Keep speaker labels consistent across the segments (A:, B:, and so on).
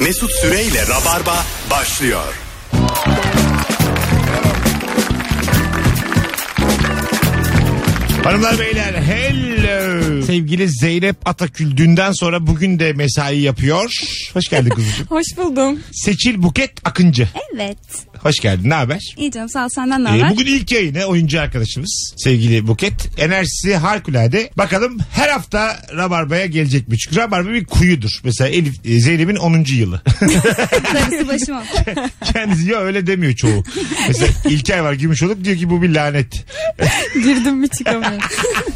A: Mesut Süreyle Rabarba başlıyor.
B: Hanımlar beyler hello. Sevgili Zeynep Atakül dünden sonra bugün de mesai yapıyor. Hoş geldin kuzucuğum.
C: Hoş buldum.
B: Seçil Buket Akıncı.
C: Evet.
B: Hoş geldin ne haber?
C: İyi canım sağ ol senden ne
B: Ee,
C: haber?
B: bugün ilk yayını oyuncu arkadaşımız sevgili Buket. Enerjisi harikulade. Bakalım her hafta Rabarba'ya gelecek mi? Çünkü Rabarba bir kuyudur. Mesela Elif, e, Zeynep'in 10. yılı.
C: Darısı başıma.
B: Kendisi ya öyle demiyor çoğu. Mesela İlker var Gümüşoluk diyor ki bu bir lanet.
C: Girdim mi çıkamıyorum.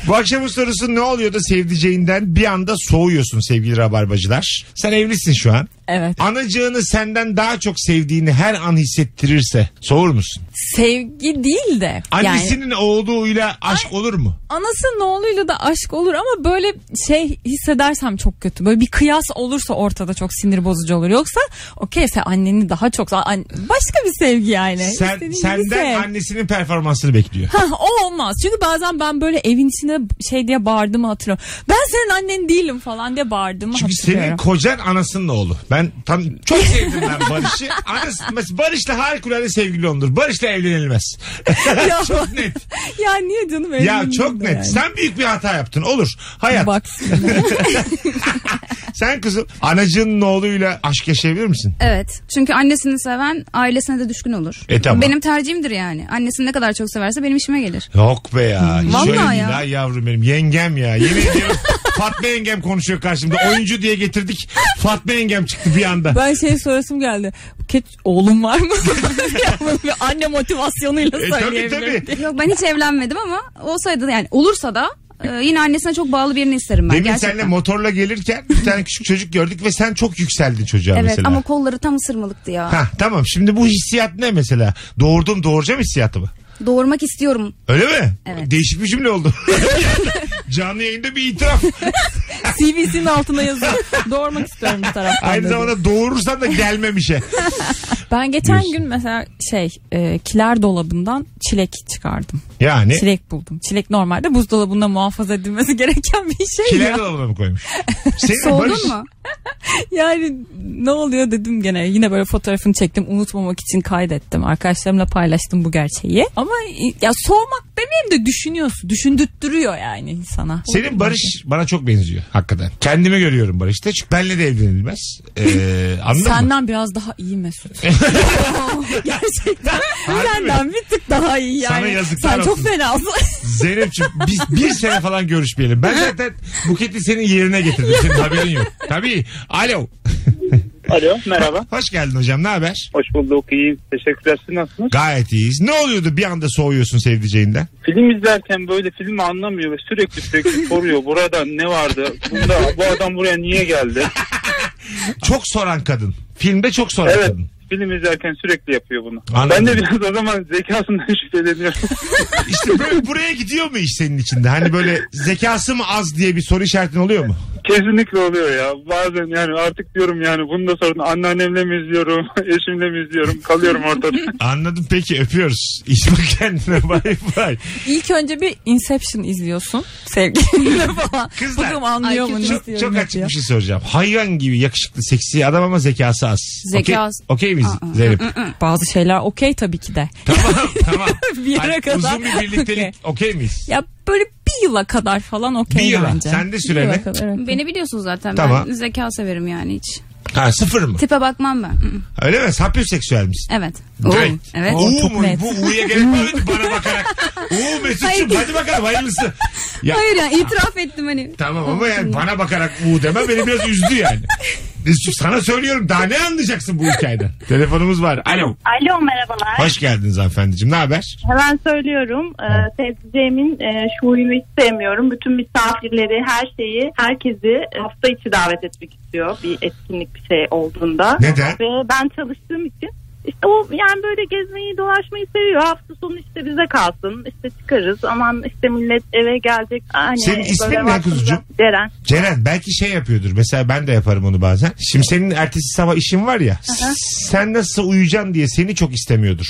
B: Bu akşamın sorusu ne oluyor da sevdiceğinden bir anda soğuyorsun sevgili rabarbacılar. Sen evlisin şu an.
C: evet.
B: Anacığını senden daha çok sevdiğini her an hissettirirse soğur musun?
C: Sevgi değil de. Yani
B: Annesinin oğluyla aşk olur mu?
C: anasının oğluyla da aşk olur ama böyle şey hissedersem çok kötü. Böyle bir kıyas olursa ortada çok sinir bozucu olur. Yoksa okeyse anneni daha çok an- başka bir sevgi yani.
B: Sen,
C: İstediğin e, gibi
B: senden
C: sev.
B: annesinin performansını bekliyor.
C: Hah, o olmaz. Çünkü bazen ben böyle evin içine şey diye bağırdım hatırlıyorum. Ben senin annen değilim falan diye bağırdım
B: Çünkü
C: hatırlıyorum.
B: senin kocan anasının oğlu. Ben tam çok sevdim ben Barış'ı. Anası, mesela Barış'la harikulade sevgili olunur. Barış'la evlenilmez.
C: Ya.
B: çok net.
C: ya niye canım öyle
B: Ya
C: bilmiyorum
B: çok
C: da
B: net.
C: yani.
B: Sen büyük bir hata yaptın. Olur. Hayat.
C: Bak.
B: Sen kızım anacının oğluyla aşk yaşayabilir misin?
D: Evet. Çünkü annesini seven ailesine de düşkün olur.
B: E tamam.
D: Benim tercihimdir yani. Annesini ne kadar çok severse benim işime gelir.
B: Yok be ya. Hiç
D: Hmm, Vallahi
B: öyle değil
D: ya.
B: ha yavrum benim. Yengem ya. Yemin ediyorum. Fatma yengem konuşuyor karşımda. Oyuncu diye getirdik. Fatma yengem çıktı bir anda.
C: Ben şey sorasım geldi. Keç oğlum var mı? Ya böyle bir anne motivasyonuyla
B: E, tabii
C: söyleyebilirim.
B: tabii.
D: Yok ben hiç evlenmedim ama olsaydı da yani olursa da e, yine annesine çok bağlı birini isterim ben
B: Demin
D: gerçekten.
B: seninle motorla gelirken bir tane küçük çocuk gördük ve sen çok yükseldin çocuğa
D: Evet
B: mesela.
D: ama kolları tam ısırmalıktı ya.
B: Ha tamam şimdi bu hissiyat ne mesela? Doğurdum doğuracağım hissiyatı mı?
D: Doğurmak istiyorum.
B: Öyle mi?
D: Evet.
B: Değişik bir cümle oldu. Canlı yayında bir itiraf.
C: CV'sinin altına yazıyor. Doğurmak istiyorum bu taraftan.
B: Aynı
C: dedi.
B: zamanda doğurursan da gelmem işe.
C: Ben geçen
B: Diyorsun.
C: gün mesela şey e, kiler dolabından çilek çıkardım.
B: Yani
C: Çilek buldum. Çilek normalde buzdolabında muhafaza edilmesi gereken bir şey
B: kiler
C: ya.
B: dolabına mı koymuş? Senin Barış-
D: Soğudun mu?
C: Yani ne oluyor dedim gene. Yine böyle fotoğrafını çektim. Unutmamak için kaydettim. Arkadaşlarımla paylaştım bu gerçeği. Ama ya soğumak demeyeyim de düşünüyorsun. Düşündüttürüyor yani insana.
B: Senin Barış bana çok benziyor hakikaten. Kendimi görüyorum Barış'ta. Çünkü benle de evlenilmez. Ee, anladın mı?
C: Senden biraz daha iyi Mesut. Gerçekten
B: Harbi
C: benden bir tık daha iyi yani.
B: Sana yazıklar
C: Sen çok
B: olsun.
C: fenasın.
B: Zeynep'ciğim biz bir sene falan görüşmeyelim. Ben zaten Buket'i senin yerine getirdim. Senin haberin yok. Tabii. Alo.
E: Alo merhaba.
B: Hoş geldin hocam. Ne haber?
E: Hoş bulduk. İyi. Teşekkürler. Siz nasılsınız?
B: Gayet iyiyiz. Ne oluyordu bir anda soğuyorsun sevdiceğinden?
E: Film izlerken böyle filmi anlamıyor ve sürekli sürekli soruyor. Burada ne vardı? Bunda bu adam buraya niye geldi?
B: Çok soran kadın. Filmde çok soran
E: Evet.
B: kadın.
E: Film izlerken sürekli yapıyor bunu.
B: Anladım.
E: Ben de biraz o zaman zekasından şüpheleniyorum.
B: İşte böyle buraya gidiyor mu iş senin içinde? Hani böyle zekası mı az diye bir soru işaretin oluyor mu?
E: Kesinlikle oluyor ya. Bazen yani artık diyorum yani bunu da sorun. Anneannemle mi izliyorum? Eşimle mi izliyorum? Kalıyorum ortada.
B: Anladım peki öpüyoruz. İş bak kendine bay bay.
C: İlk önce bir Inception izliyorsun sevgilinle falan.
B: Kızlar,
C: Bakalım anlıyor
D: ay
C: mu? ne
D: kötü.
C: istiyor,
B: Çok, çok
C: ne
B: açık
C: yapıyor.
B: bir şey soracağım. Hayvan gibi yakışıklı seksi adam ama zekası az.
D: Zekası-
B: Okey okey miyiz Zeynep?
C: Bazı şeyler okey tabii ki de.
B: tamam tamam.
C: Bir yere
B: Hani
C: kadar
B: Uzun bir
C: okey.
B: birliktelik okey miyiz?
C: Ya böyle bir yıla kadar falan
B: Bir
C: okey
B: yıla.
C: bence.
B: Sen de sürene.
C: Bir yıla kadar, evet.
D: Beni biliyorsun zaten.
B: Tamam.
D: Ben zeka severim yani hiç.
B: Ha sıfır mı?
D: Tipe bakmam ben. Mm, mm.
B: Öyle mi? Sapyoseksüel misin?
D: Evet. Oo,
B: Direkt.
D: Evet.
B: Oo,
C: çok
B: mu?
C: net.
B: Bu U'ya gerek var mıydı bana bakarak? Uğur Mesut'cum hadi bakalım hayırlısı. Ya,
D: Hayır yani itiraf ettim hani.
B: Tamam ama yani bana bakarak U deme beni biraz üzdü yani. Mesut'cum sana söylüyorum daha ne anlayacaksın bu hikayeden? Telefonumuz var. Alo.
F: Alo merhabalar.
B: Hoş geldiniz hanımefendiciğim. Ne haber?
F: Hemen söylüyorum. Ee, sevdiceğimin e, şu huyunu hiç sevmiyorum. Bütün misafirleri, her şeyi, herkesi e, hafta içi davet etmek istiyor. Bir etkinlik bir şey olduğunda.
B: Neden?
F: Ve ben çalıştığım için işte o yani böyle gezmeyi dolaşmayı seviyor. Hafta sonu işte bize kalsın. İşte çıkarız. Aman işte millet eve gelecek. Hani
B: Senin ismin
F: böyle
B: ne
F: baktığında-
B: kuzucuğum?
F: Ceren.
B: Ceren belki şey yapıyordur. Mesela ben de yaparım onu bazen. Şimdi senin ertesi sabah işin var ya. Sen nasıl uyuyacaksın diye seni çok istemiyordur.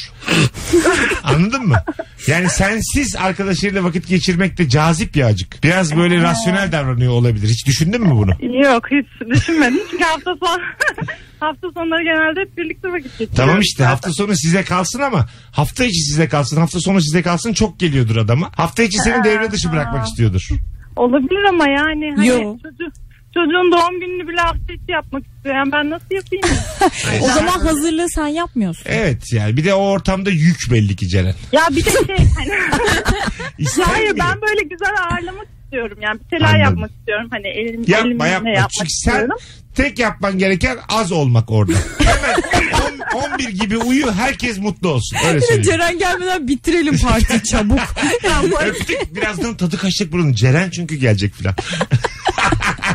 B: Anladın mı? Yani sensiz arkadaşlarıyla vakit geçirmek de cazip ya acık. Biraz böyle rasyonel davranıyor olabilir. Hiç düşündün mü bunu?
F: Yok hiç düşünmedim. Çünkü hafta sonu Hafta sonları genelde hep birlikte vakit geçiriyoruz.
B: Tamam işte
F: zaten.
B: hafta sonu size kalsın ama hafta içi size kalsın hafta sonu size kalsın çok geliyordur adama. Hafta içi seni devre dışı bırakmak istiyordur.
F: Olabilir ama yani hani
C: Yo.
F: çocuğu- çocuğun doğum gününü bile hafta içi yapmak istiyor. Yani ben nasıl yapayım?
C: O zaman hazırlığı sen yapmıyorsun.
B: Evet yani bir de o ortamda yük belli ki Ceren.
F: ya bir de şey hani hayır
B: İstemiyor.
F: ben böyle güzel ağırlamak istiyorum. Yani bir şeyler
B: Anladım.
F: yapmak istiyorum. Hani elim,
B: Yapma
F: elimle
B: yapma.
F: yapmak
B: Çünkü sen
F: istiyorum.
B: tek yapman gereken az olmak orada. Hemen 10 11 gibi uyu herkes mutlu olsun. Öyle söyleyeyim.
C: Ceren gelmeden bitirelim parti çabuk. Ya bu-
B: Öptük birazdan tadı kaçacak bunun. Ceren çünkü gelecek filan.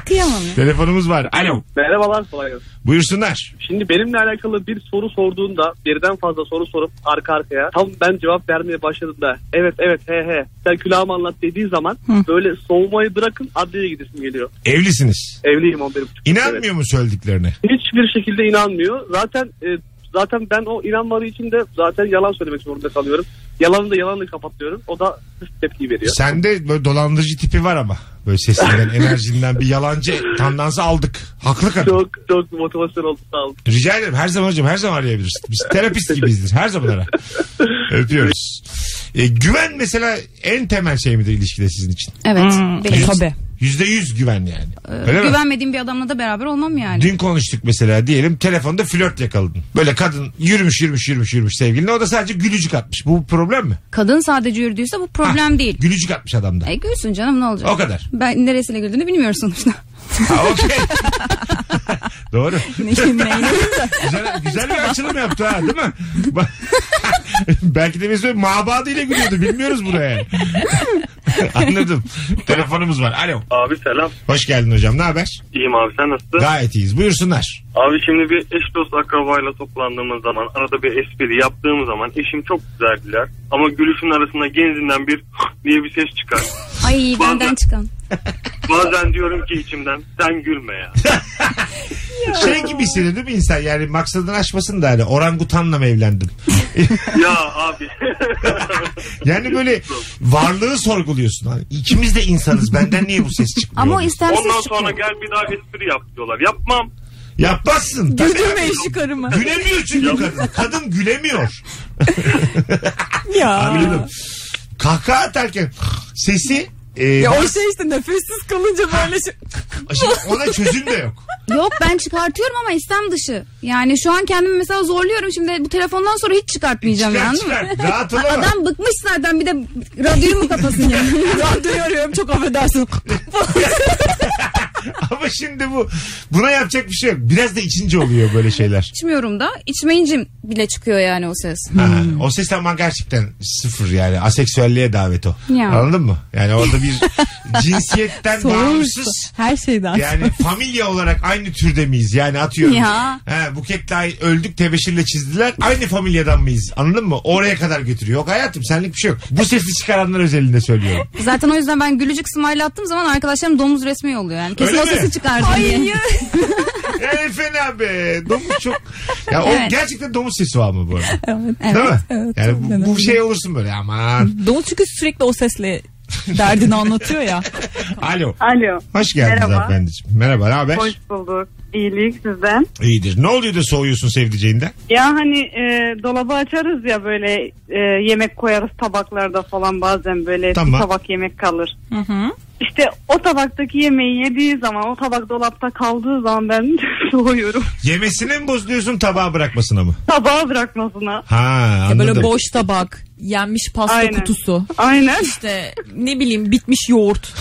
C: Kıyamam.
B: Telefonumuz var. Alo.
G: Merhabalar kolay gelsin.
B: Buyursunlar.
G: Şimdi benimle alakalı bir soru sorduğunda birden fazla soru sorup arka arkaya tam ben cevap vermeye başladığımda evet evet he he sen külahımı anlat dediği zaman böyle soğumayı bırakın adliye gidesim geliyor.
B: Evlisiniz.
G: Evliyim 11 buçuk.
B: İnanmıyor mu söylediklerine?
G: Hiçbir şekilde inanmıyor. Zaten e, zaten ben o inanmadığı için de zaten yalan söylemek zorunda kalıyorum. Yalanı da yalanla kapatıyorum. O da üst tepki veriyor.
B: Sende böyle dolandırıcı tipi var ama. Böyle sesinden, enerjinden bir yalancı tandansı aldık. Haklı kadın.
G: Çok çok motivasyon oldu sağ olun.
B: Rica ederim. Her zaman hocam her zaman arayabilirsin. Biz terapist gibiyizdir. Her zaman ara. Öpüyoruz. E, güven mesela en temel şey midir ilişkide sizin için?
D: Evet. benim.
C: Tabii.
B: Yüzde yüz güven yani. Öyle mi?
D: Güvenmediğim bir adamla da beraber olmam yani.
B: Dün konuştuk mesela diyelim telefonda flört yakaladın. Böyle kadın yürümüş yürümüş yürümüş yürümüş sevgiline o da sadece gülücük atmış. Bu problem mi?
D: Kadın sadece yürüdüyse bu problem değil.
B: Gülücük atmış adamda.
D: E gülsün canım ne olacak?
B: O kadar.
D: Ben neresiyle güldüğünü bilmiyorum sonuçta.
B: Ha, okey. Doğru.
C: Ne- neyle-
B: Güzel, güzel bir açılım yaptı ha değil mi? Ba- Belki de mesela mabadı ile gülüyordu. Bilmiyoruz buraya. Anladım. Telefonumuz var. Alo.
E: Abi selam.
B: Hoş geldin hocam. Ne haber?
E: İyiyim abi sen nasılsın?
B: Gayet iyiyiz. Buyursunlar.
E: Abi şimdi bir eş dost akrabayla toplandığımız zaman arada bir espri yaptığım zaman eşim çok güzel güler. Ama gülüşün arasında genzinden bir diye bir ses çıkar.
D: Ay benden çıkan.
E: Bazen diyorum ki içimden sen gülme ya.
B: Şey gibi hissediyor değil mi insan? Yani maksadını aşmasın da hani orangutanla mı evlendim?
E: ya abi.
B: Yani böyle varlığı sorguluyorsun. Hani ikimiz de insanız. Benden niye bu ses çıkmıyor?
D: Ama o istemsiz
E: Ondan
D: çıkıyor.
E: sonra gel bir daha espri yap diyorlar. Yapmam.
B: Yapmazsın. Tabii.
C: Güldürme işi karımı.
B: Gülemiyor çünkü kadın. Kadın gülemiyor.
C: Ya.
B: Anladım. Kahkaha atarken sesi e,
C: Ya o
B: bak-
C: şey işte nefessiz kalınca böyle şey.
B: Şimdi ona çözüm de yok.
D: Yok ben çıkartıyorum ama istem dışı. Yani şu an kendimi mesela zorluyorum şimdi bu telefondan sonra hiç çıkartmayacağım
B: Çıkar
D: yani. değil mi?
B: çıkar. Rahat olama.
D: Adam bıkmış zaten bir de radyoyu mu kapasın yani?
C: Radyoyu arıyorum çok affedersin.
B: E, Ama şimdi bu buna yapacak bir şey yok. Biraz da içince oluyor böyle şeyler.
D: İçmiyorum da içmeyince bile çıkıyor yani o ses.
B: Ha, o ses ama gerçekten sıfır yani. Aseksüelliğe davet o.
D: Ya.
B: Anladın mı? Yani orada bir cinsiyetten bağımsız
C: Her şeyden.
B: yani familya olarak aynı türde miyiz? Yani atıyorum.
D: Ya.
B: He, buketle ay- öldük tebeşirle çizdiler. Aynı familyadan mıyız? Anladın mı? Oraya kadar götürüyor. Yok hayatım senlik bir şey yok. Bu sesi çıkaranlar özelinde söylüyorum.
D: Zaten o yüzden ben gülücük smile attığım zaman arkadaşlarım domuz resmi yolluyor yani. Kesin
B: Öyle
D: o
B: mi?
D: sesi çıkardı diye.
B: Ey fena be. Domuz çok. Ya o
D: Evet.
B: gerçekten domuz sesi var mı bu arada?
C: Evet.
B: Değil mi?
C: evet,
B: yani
C: çok
B: bu- bu,
C: önemli.
B: şey olursun böyle aman.
C: Doğu çünkü sürekli o sesle derdini anlatıyor ya.
B: Alo.
F: Alo.
B: Hoş geldiniz
F: Merhaba.
B: hanımefendiciğim. Merhaba ne haber?
F: Hoş bulduk. İyilik sizden.
B: İyidir. Ne oluyor da soğuyorsun sevdiceğinden?
F: Ya hani e, dolabı açarız ya böyle e, yemek koyarız tabaklarda falan bazen böyle bir
B: Tamam.
F: tabak yemek kalır. İşte o tabaktaki yemeği yediği zaman o tabak dolapta kaldığı zaman ben soğuyorum.
B: Yemesini mi bozuluyorsun tabağa bırakmasına mı?
F: Tabağı bırakmasına.
B: Ha
C: Ya
B: anladım.
C: böyle boş tabak, yenmiş pasta
F: Aynen.
C: kutusu.
F: Aynen.
C: İşte ne bileyim bitmiş yoğurt.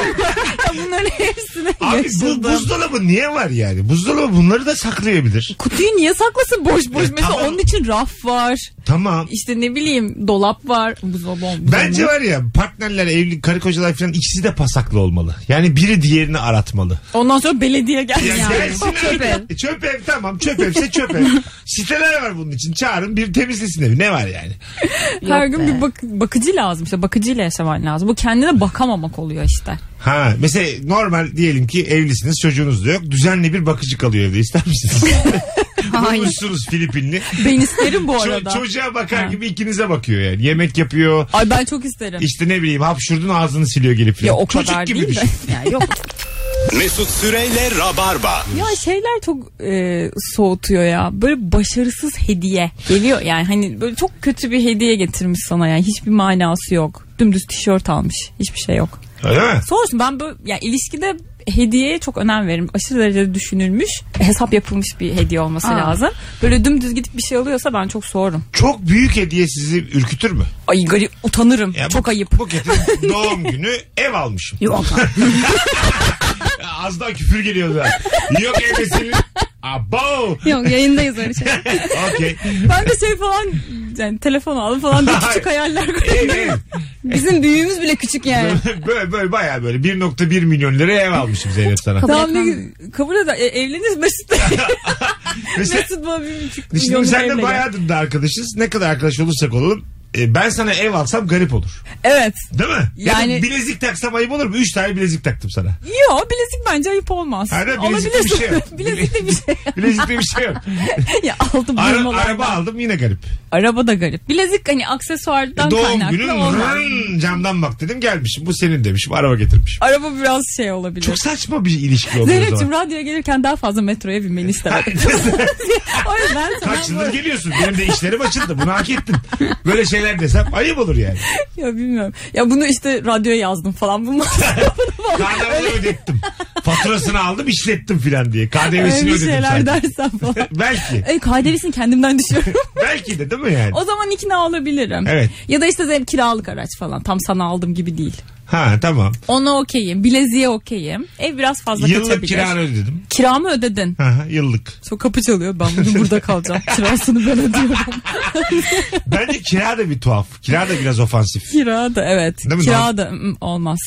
C: ya bunların hepsine
B: Abi bu
C: yaşadım.
B: buzdolabı niye var yani? Buzdolabı bunları da saklayabilir.
C: Kutuyu niye saklasın boş boş?
B: Ya
C: Mesela
B: tamam.
C: onun için raf var.
B: Tamam.
C: İşte ne bileyim dolap var. Buzdolabı olmalı.
B: Bence var ya partnerler, evli karı kocalar falan ikisi de pasaklı olmalı. Yani biri diğerini aratmalı.
C: Ondan sonra belediye geldi.
B: Ya gelsin
D: Çöp
B: abi.
D: ev.
B: E, Çöp ev tamam çöp evse çöp ev. Siteler var bunun için çağırın bir temizlesin evi ne var yani.
C: Her
D: Yok
C: gün
D: be.
C: bir bak- bakıcı lazım işte bakıcıyla yaşaman lazım. Bu kendine bakamamak oluyor işte.
B: Ha mesela normal diyelim ki evlisiniz çocuğunuz da yok düzenli bir bakıcı kalıyor evde ister misiniz? Bulmuşsunuz Filipinli.
C: Ben isterim bu
B: Ço-
C: arada.
B: çocuğa bakar
C: Ha.
B: gibi ikinize bakıyor yani. Yemek yapıyor.
C: Ay ben çok isterim.
B: İşte ne bileyim hapşurdun ağzını siliyor gelip.
C: Ya
B: falan.
C: o
B: Çocuk
C: kadar
B: gibi
C: değil
B: düşün.
C: de. Ya yok.
A: Mesut Süreyle Rabarba.
C: Ya şeyler çok e, soğutuyor ya. Böyle başarısız hediye geliyor yani hani böyle çok kötü bir hediye getirmiş sana yani hiçbir manası yok. Dümdüz tişört almış. Hiçbir şey yok.
B: Öyle mi?
C: Sonrasında ben böyle ya ilişkide hediyeye çok önem veririm. Aşırı derecede düşünülmüş, hesap yapılmış bir hediye olması
D: Aa.
C: lazım. Böyle dümdüz gidip bir şey alıyorsa ben çok soğurum.
B: Çok büyük hediye sizi ürkütür mü?
C: Ay garip utanırım.
B: Ya
C: çok
B: bu-
C: ayıp.
B: Buket'in doğum günü ev almışım.
C: Yok.
B: Az daha küfür geliyor da. Yok evdesin. Abo.
D: Yok yayındayız öyle şey.
B: Okey.
C: ben de şey falan yani telefon aldım falan diye küçük hayaller
B: Ev
C: kurdum.
B: ev.
D: Bizim büyüğümüz bile küçük yani.
B: Böyle böyle bayağı böyle 1.1 milyon liraya ev almışım Zeynep sana.
D: Kabul
C: Tamam
D: etmem.
C: ne- kabul eder. E, evleniriz Mesut.
B: Mesela,
C: Mesut bana bir buçuk
B: şimdi
C: milyon
B: sen
C: lira
B: de bayağıdır da arkadaşız. Ne kadar arkadaş olursak olalım. e, Ben sana ev alsam garip olur.
C: Evet.
B: Değil mi? Yani...
C: Yani-
B: bilezik taksam ayıp olur mu? 3 tane bilezik taktım sana.
C: Yo bilezik bence ayıp olmaz.
B: Hayır, bilezikte bir şey yok.
C: bilezikte bir şey.
B: Bilezikte bir şey yok.
C: ya aldım
B: Ara,
C: yırmalardan.
B: araba aldım yine garip.
C: Araba da garip. Bilezik hani aksesuardan
B: E, Doğum
C: kaynaklı
B: günün
C: olmaz.
B: "Vrın!" camdan bak dedim gelmişim. Bu senin demişim. Araba getirmişim.
C: Araba biraz şey olabilir.
B: Çok saçma bir ilişki oldu o
C: Zeynep'ciğim
B: zaman.
C: radyoya gelirken daha fazla metroya binmeni istemedim. o yüzden
B: Kaç
C: sana
B: yıldır geliyorsun. Benim de işlerim açıldı. Bunu hak ettin. Böyle şeyler desem ayıp olur yani.
C: ya bilmiyorum. Ya bunu işte radyoya yazdım falan. Bunu
B: KDV'yi ödettim. Faturasını aldım işlettim filan diye.
C: öyle
B: KDV'sini
C: bir
B: ödedim
C: şeyler
B: sadece.
C: dersen falan.
B: Belki.
C: e, KDV'sini kendimden düşüyorum.
B: Belki de değil mi yani?
C: o zaman ikna olabilirim.
B: Evet.
C: Ya da işte Zeynep kiralık araç falan. Tam sana aldım gibi değil.
B: Ha tamam.
C: Ona okeyim. Bileziğe okeyim. Ev biraz fazla
B: Yıllık
C: kaçabilir.
B: kiranı ödedim.
C: Kiramı ödedin.
B: Ha, ha, yıllık.
C: Sonra kapı çalıyor. Ben bugün burada kalacağım. Kirasını ben ödüyorum.
B: Bence kira da bir tuhaf. Kira da biraz ofansif.
C: Kira da evet.
B: Değil mi?
C: Kira da mm, olmaz.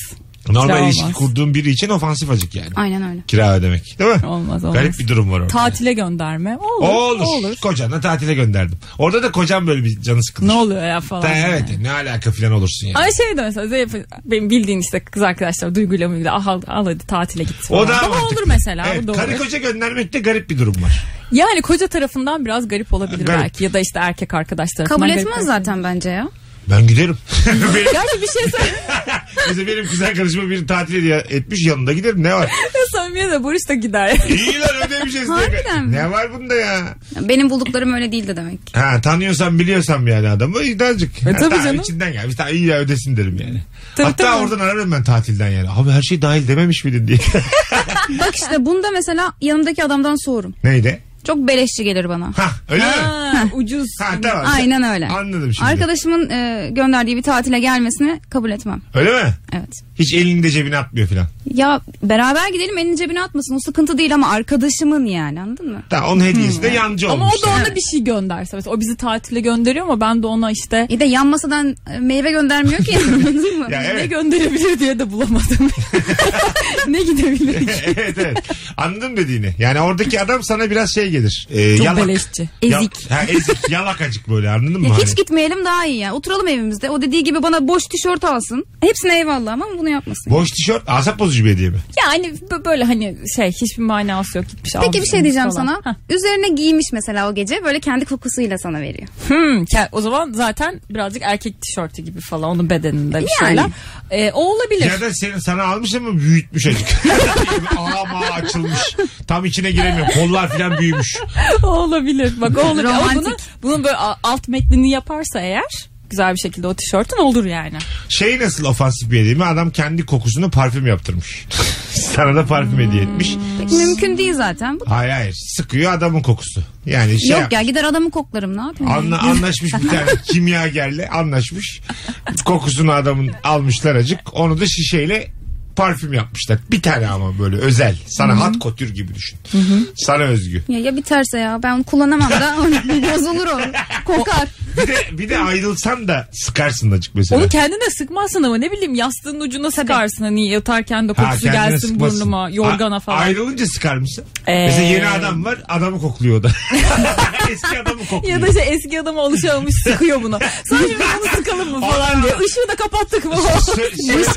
B: Normal
C: Kira
B: ilişki
C: olmaz.
B: kurduğun biri için ofansif acık yani.
D: Aynen öyle.
B: Kira ödemek. Değil mi?
C: Olmaz olmaz.
B: Garip bir durum var orada.
C: Tatile gönderme. Olur.
B: olur.
C: Olur.
B: Kocanla tatile gönderdim. Orada da kocan böyle bir canı sıkılır.
C: Ne oluyor ya falan.
B: Ta, evet ne alaka filan olursun yani.
C: Ay şey de mesela Zeynep, benim bildiğin işte kız arkadaşlar duyguyla muyla al, al, al hadi tatile git. Falan.
B: O da
C: Ama olur mesela.
B: Evet,
C: bu da olur.
B: karı koca göndermekte garip bir durum var.
C: Yani koca tarafından biraz garip olabilir
B: Garip.
C: belki. Ya da işte erkek arkadaş tarafından.
D: Kabul
C: garip
D: etmez
C: olabilir.
D: zaten bence ya.
B: Ben giderim. benim,
C: Gerçi bir şey söyle.
B: mesela benim kız arkadaşıma bir tatil hediye etmiş yanında giderim ne var?
C: Samimiye de Boris da gider.
B: İyi lan ödemişiz.
D: Harbiden mi?
B: ne var bunda ya?
D: Benim bulduklarım öyle değildi demek.
B: Ha tanıyorsan biliyorsan yani adamı iddiacık.
C: E, tabii canım.
B: İçinden gelmiş. Daha iyi ya ödesin derim yani.
C: Tabii,
B: Hatta
C: tabii.
B: oradan ararım ben tatilden yani. Abi her şey dahil dememiş miydin diye.
D: Bak işte bunda mesela yanımdaki adamdan soğurum.
B: Neydi?
D: Çok beleşçi gelir bana.
B: Ha öyle mi?
C: Ha, ucuz.
B: Ha tamam.
D: Aynen öyle.
B: Anladım şimdi.
D: Arkadaşımın e, gönderdiği bir tatile gelmesini kabul etmem.
B: Öyle mi?
D: Evet.
B: Hiç elini de cebine atmıyor filan.
D: Ya beraber gidelim elini cebine atmasın. O sıkıntı değil ama arkadaşımın yani anladın mı?
B: Tamam onun hediyesi de yancı
C: Hmm. Ama
B: olmuş.
C: o da ona bir şey gönderse. Mesela o bizi tatile gönderiyor ama ben de ona işte
D: İyi de yan masadan e, meyve göndermiyor ki anladın mı?
B: Ya
C: ne
B: evet.
C: gönderebilir diye de bulamadım. ne gidebilir ki?
B: evet evet. Anladım dediğini. Yani oradaki adam sana biraz şey gelir. Ee,
C: Çok
B: yalak.
C: beleşçi.
B: Ya-
D: Ezik.
B: ha, ezik. Yalakacık böyle anladın mı?
D: Ya
B: Hani?
D: hiç gitmeyelim daha iyi ya. Oturalım evimizde. O dediği gibi bana boş tişört alsın. Hepsine eyvallah ama bunu yapmasın.
B: Boş tişört asap bozucu bir hediye mi?
C: Yani bö- böyle hani şey hiçbir manası yok gitmiş.
D: Peki bir
C: almış
D: şey diyeceğim
C: falan.
D: sana.
C: Hah.
D: Üzerine giymiş mesela o gece böyle kendi kokusuyla sana veriyor.
C: Hmm, ke- o zaman zaten birazcık erkek tişörtü gibi falan onun bedeninde bir
D: Yani.
C: şeyler. Ee, o olabilir.
B: Ya da senin sana almış ama büyütmüş acık. Ama açılmış. Tam içine giremiyor. Kollar filan büyümüş.
C: o olabilir. Bak o olabilir. Ama
D: Romantik.
C: bunu, bunun böyle a- alt metnini yaparsa eğer güzel bir şekilde o tişörtün olur yani.
B: Şey nasıl ofansif bir hediye mi? Adam kendi kokusunu parfüm yaptırmış. sana da parfüm hediye etmiş.
D: Mümkün değil zaten. Bu...
B: Hayır hayır. Sıkıyor adamın kokusu. Yani şey
D: Yok ya gider adamı koklarım ne yapayım?
B: Anla, anlaşmış bir tane kimyagerle anlaşmış. Kokusunu adamın almışlar acık. Onu da şişeyle parfüm yapmışlar. Bir tane ama böyle özel. Sana hat kotür gibi düşün. Sana özgü.
D: Ya, ya biterse ya ben onu kullanamam da bozulur o. Kokar.
B: Bir de, bir de ayrılsan da sıkarsın acık mesela.
C: Onu kendine sıkmazsın ama ne bileyim yastığın ucuna sıkarsın hani yatarken de
B: Ha,
C: kokusu
B: kendine
C: gelsin
B: sıkmasın.
C: burnuma, yorgana
B: A-
C: falan.
B: ayrılınca sıkar mısın?
C: Ee.
B: Mesela yeni adam var adamı kokluyor o da. Eski adamı kokluyor.
C: Ya da işte eski adama alışamamış sıkıyor bunu. Sonra şimdi bunu sıkalım mı falan diye. Işığı da kapattık mı?
B: Sö-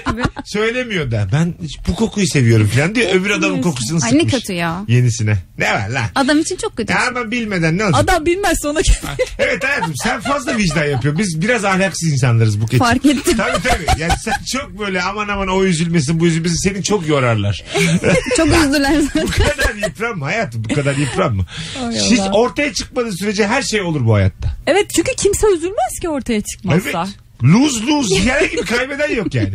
B: söyle- söylemiyor da ben bu kokuyu seviyorum falan diye öbür adamın kokusunu
D: Ay
B: sıkmış.
D: ne kötü ya.
B: Yenisine. Ne var lan?
D: Adam için çok kötü.
B: Ya ama bilmeden ne olacak?
C: Adam bilmezse ona
B: Evet hayatım sen fazla vicdan yapıyor. Biz biraz ahlaksız insanlarız bu keçi.
D: Fark ettim.
B: Tabii tabii. Yani sen çok böyle aman aman o üzülmesin bu üzülmesin seni çok yorarlar.
D: Çok üzdüler zaten.
B: Bu kadar yıpranma hayatım bu kadar yıpranma. Siz ortaya çıkmadığı sürece her şey olur bu hayatta.
C: Evet çünkü kimse üzülmez ki ortaya
B: Evet.
C: çıkmazsa.
B: Luz luz yere gibi kaybeden yok yani.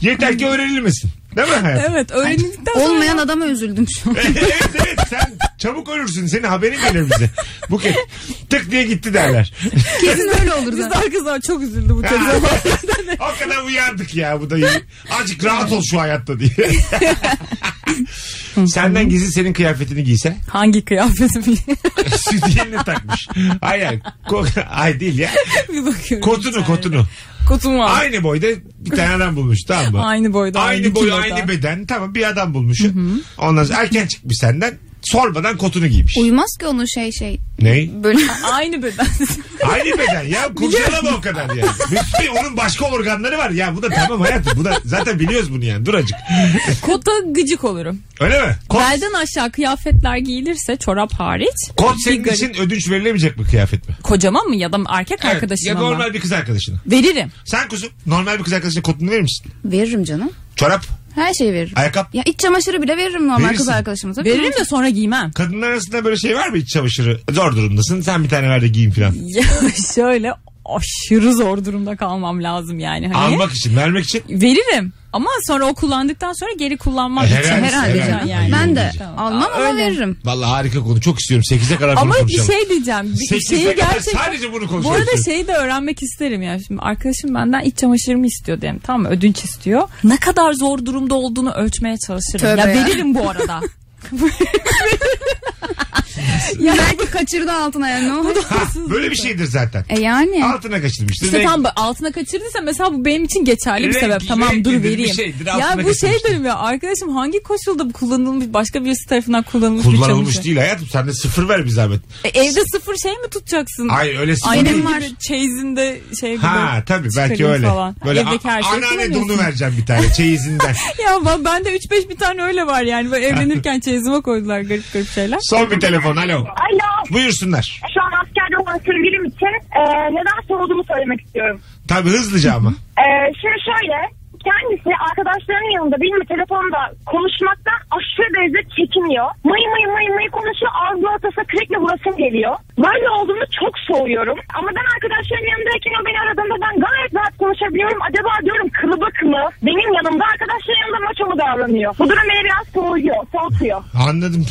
B: Yeter ki öğrenilmesin. Değil mi hayatım?
C: Evet, öğrenildikten sonra.
D: Olmayan adama üzüldüm şu an.
B: evet evet sen çabuk ölürsün. Senin haberin gelir bize. Bu ke- tık diye gitti derler.
D: Kesin öyle olur
C: Biz de
D: zaten.
C: arkasından çok üzüldü bu çocuğa.
B: o kadar uyardık ya bu da iyi. Azıcık rahat ol şu hayatta diye. Senden gizli senin kıyafetini giyse
C: Hangi kıyafeti bile
B: sütyenini takmış. Hayır hayır. Ko- Ay değil ya.
C: bir bakıyorum.
B: Kotunu
C: içeride.
B: kotunu.
C: Kotum var. Aynı,
B: Aynı boyda bir tane adam bulmuş tamam mı?
C: boyda.
B: Aynı boy
C: kiloda.
B: aynı beden tamam bir adam bulmuş. Ondan sonra erken çıkmış senden sormadan kotunu giymiş.
D: Uymaz ki onun şey şey.
B: Ney?
D: Böyle
C: Aynı beden.
B: Aynı beden ya kurcalama o kadar yani. Bütün onun başka organları var ya bu da tamam hayatım bu da zaten biliyoruz bunu yani dur acık.
C: Kota gıcık olurum.
B: Öyle mi? Kot,
C: Belden aşağı kıyafetler giyilirse çorap hariç.
B: kot
C: bir
B: senin
C: garip-
B: için ödünç verilemeyecek mi kıyafet mi?
C: Kocaman mı ya da erkek
B: Evet,
C: arkadaşıma
B: Ya
C: mı?
B: normal bir kız arkadaşına.
C: Veririm.
B: Sen kuzum normal bir kız arkadaşına kotunu verir misin?
D: veririm canım.
B: Çorap,
D: Her şeyi veririm.
B: ayakkabı.
D: Ya iç çamaşırı bile veririm normal
B: Verirsin.
D: kız arkadaşıma. Tabii
C: Veririm de sonra giymem.
B: Kadınlar arasında böyle şey var mı iç çamaşırı? Zor durumdasın sen bir tane ver de giyin filan.
C: Ya şöyle aşırı zor durumda kalmam lazım yani. Hani
B: Almak için, vermek için.
C: Veririm ama sonra o kullandıktan sonra geri kullanmak için
B: E, Herhalde,
C: herhalde
B: herhalde.
C: yani.
D: Ben de
B: Yiyeceğim.
D: almam
C: Aa,
D: ama
C: öyle.
D: veririm.
B: Vallahi harika konu çok istiyorum 8'e kadar bunu
C: Ama bir
B: konuşalım.
C: şey diyeceğim. Bir
B: Sekize
C: şeyi
B: kadar
C: gerçekten...
B: sadece bunu konuşalım.
C: Bu arada şey- şeyi de öğrenmek isterim ya. Şimdi arkadaşım benden iç çamaşırımı istiyor diyelim. Tamam mı? Ödünç istiyor. Ne kadar zor durumda olduğunu ölçmeye çalışırım.
D: Tövbe
C: ya,
D: ya.
C: veririm bu arada.
D: Ya belki kaçırdı altına yani ne oldu?
B: Ha, böyle bir şeydir zaten.
D: E yani.
B: Altına kaçırmıştır.
C: İşte
B: Renk-
C: tam bu- altına kaçırdıysa mesela bu benim için geçerli bir
B: Renk-
C: sebep. Tamam
B: renk
C: dur
B: nedir? Bir
C: vereyim.
B: şeydir,
C: ya
B: altına
C: bu şey
B: kaçırmıştır.
C: dedim ya arkadaşım hangi koşulda bu kullanılmış başka birisi tarafından kullanılmış bir
B: Kullanılmış
C: çamaşır?
B: değil hayatım. Sen de sıfır ver bir zahmet.
C: E, evde sıfır şey mi tutacaksın?
B: Hayır öyle sıfır
C: Aynen
B: değil.
C: var. Çeyizinde şey gibi.
B: Ha tabii belki
C: çıkarayım
B: öyle.
C: falan.
B: Böyle
C: Evdeki her
B: a-
C: şeyi
B: anneanne
C: kullanıyorsun.
B: donu vereceğim bir tane çeyizinden.
C: Ya ben, ben de 3-5 bir tane öyle var yani. Böyle evlenirken çeyizime koydular garip garip şeyler.
B: Son bir telefon alo.
H: Alo.
B: Buyursunlar.
H: Şu an askerde olan sevgilim için e, neden sorduğumu söylemek istiyorum.
B: Tabii hızlıca ama.
H: E, şimdi şöyle kendisi arkadaşlarının yanında benim telefonda konuşmaktan aşırı derece çekiniyor. Mıy mıy mıy mıy konuşuyor ağzı ortasına kürekle vurasım geliyor. Böyle olduğunu çok soğuyorum. Ama ben arkadaşlarımın yanındayken o beni aradığında ben gayet rahat konuşabiliyorum. Acaba diyorum kılıbık mı? Benim yanımda arkadaşların yanında maço mu davranıyor? Bu durum beni biraz soğuyor, soğutuyor.
B: Anladım.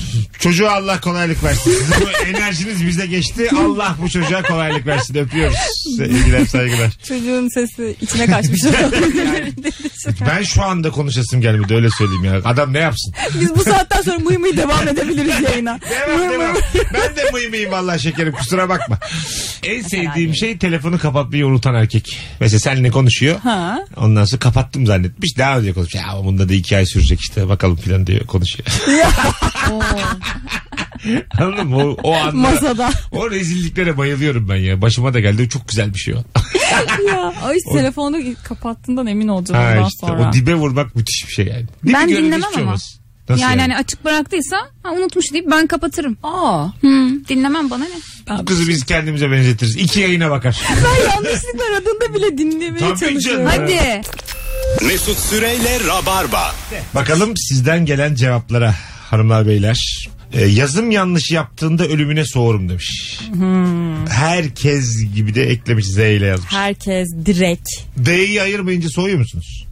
B: Çocuğa Allah kolaylık versin. Sizin bu enerjiniz bize geçti. Allah bu çocuğa kolaylık versin. Öpüyoruz. Sevgiler saygılar.
C: Çocuğun sesi içine kaçmış.
B: Ben şu anda konuşasım gelmedi öyle söyleyeyim ya. Adam ne yapsın?
C: Biz bu saatten sonra mıy mıy devam edebiliriz yayına.
B: Devam devam. Ben de mıy mıyım valla şekerim kusura bakma. En sevdiğim şey telefonu kapatmayı unutan erkek. Mesela seninle konuşuyor.
C: Ha.
B: Ondan sonra kapattım zannetmiş. Devam ediyor konuşuyor. Ya bunda da iki ay sürecek işte bakalım filan diye konuşuyor. Anladın mı? O, o anda.
C: Masada.
B: O rezilliklere bayılıyorum ben ya. Başıma da geldi. O çok güzel bir şey o.
C: ya, o işte telefonu kapattığından emin olacağım
B: Ha
C: ondan
B: işte,
C: sonra.
B: o dibe vurmak müthiş bir şey yani. Dibi
D: Ben
B: görünce
D: dinlemem
B: hiçbir şey
D: ama.
B: olmaz. Nasıl yani?
D: yani hani açık bıraktıysa ha, unutmuş deyip ben kapatırım.
C: Aa,
D: Hmm, dinlemem bana ne?
B: Bu kızı biz kendimize benzetiriz. İki yayına bakar.
C: ben yanlışlıkla aradığında bile dinlemeye
B: Tabii canım.
C: çalışıyorum.
D: Hadi.
A: Mesut Süreyle Rabarba.
B: Bakalım sizden gelen cevaplara hanımlar beyler. Ee, yazım yanlışı yaptığında ölümüne soğurum demiş. Herkes gibi de eklemiş Z ile yazmış.
C: Herkes direkt.
B: D'yi ayırmayınca soğuyor musunuz?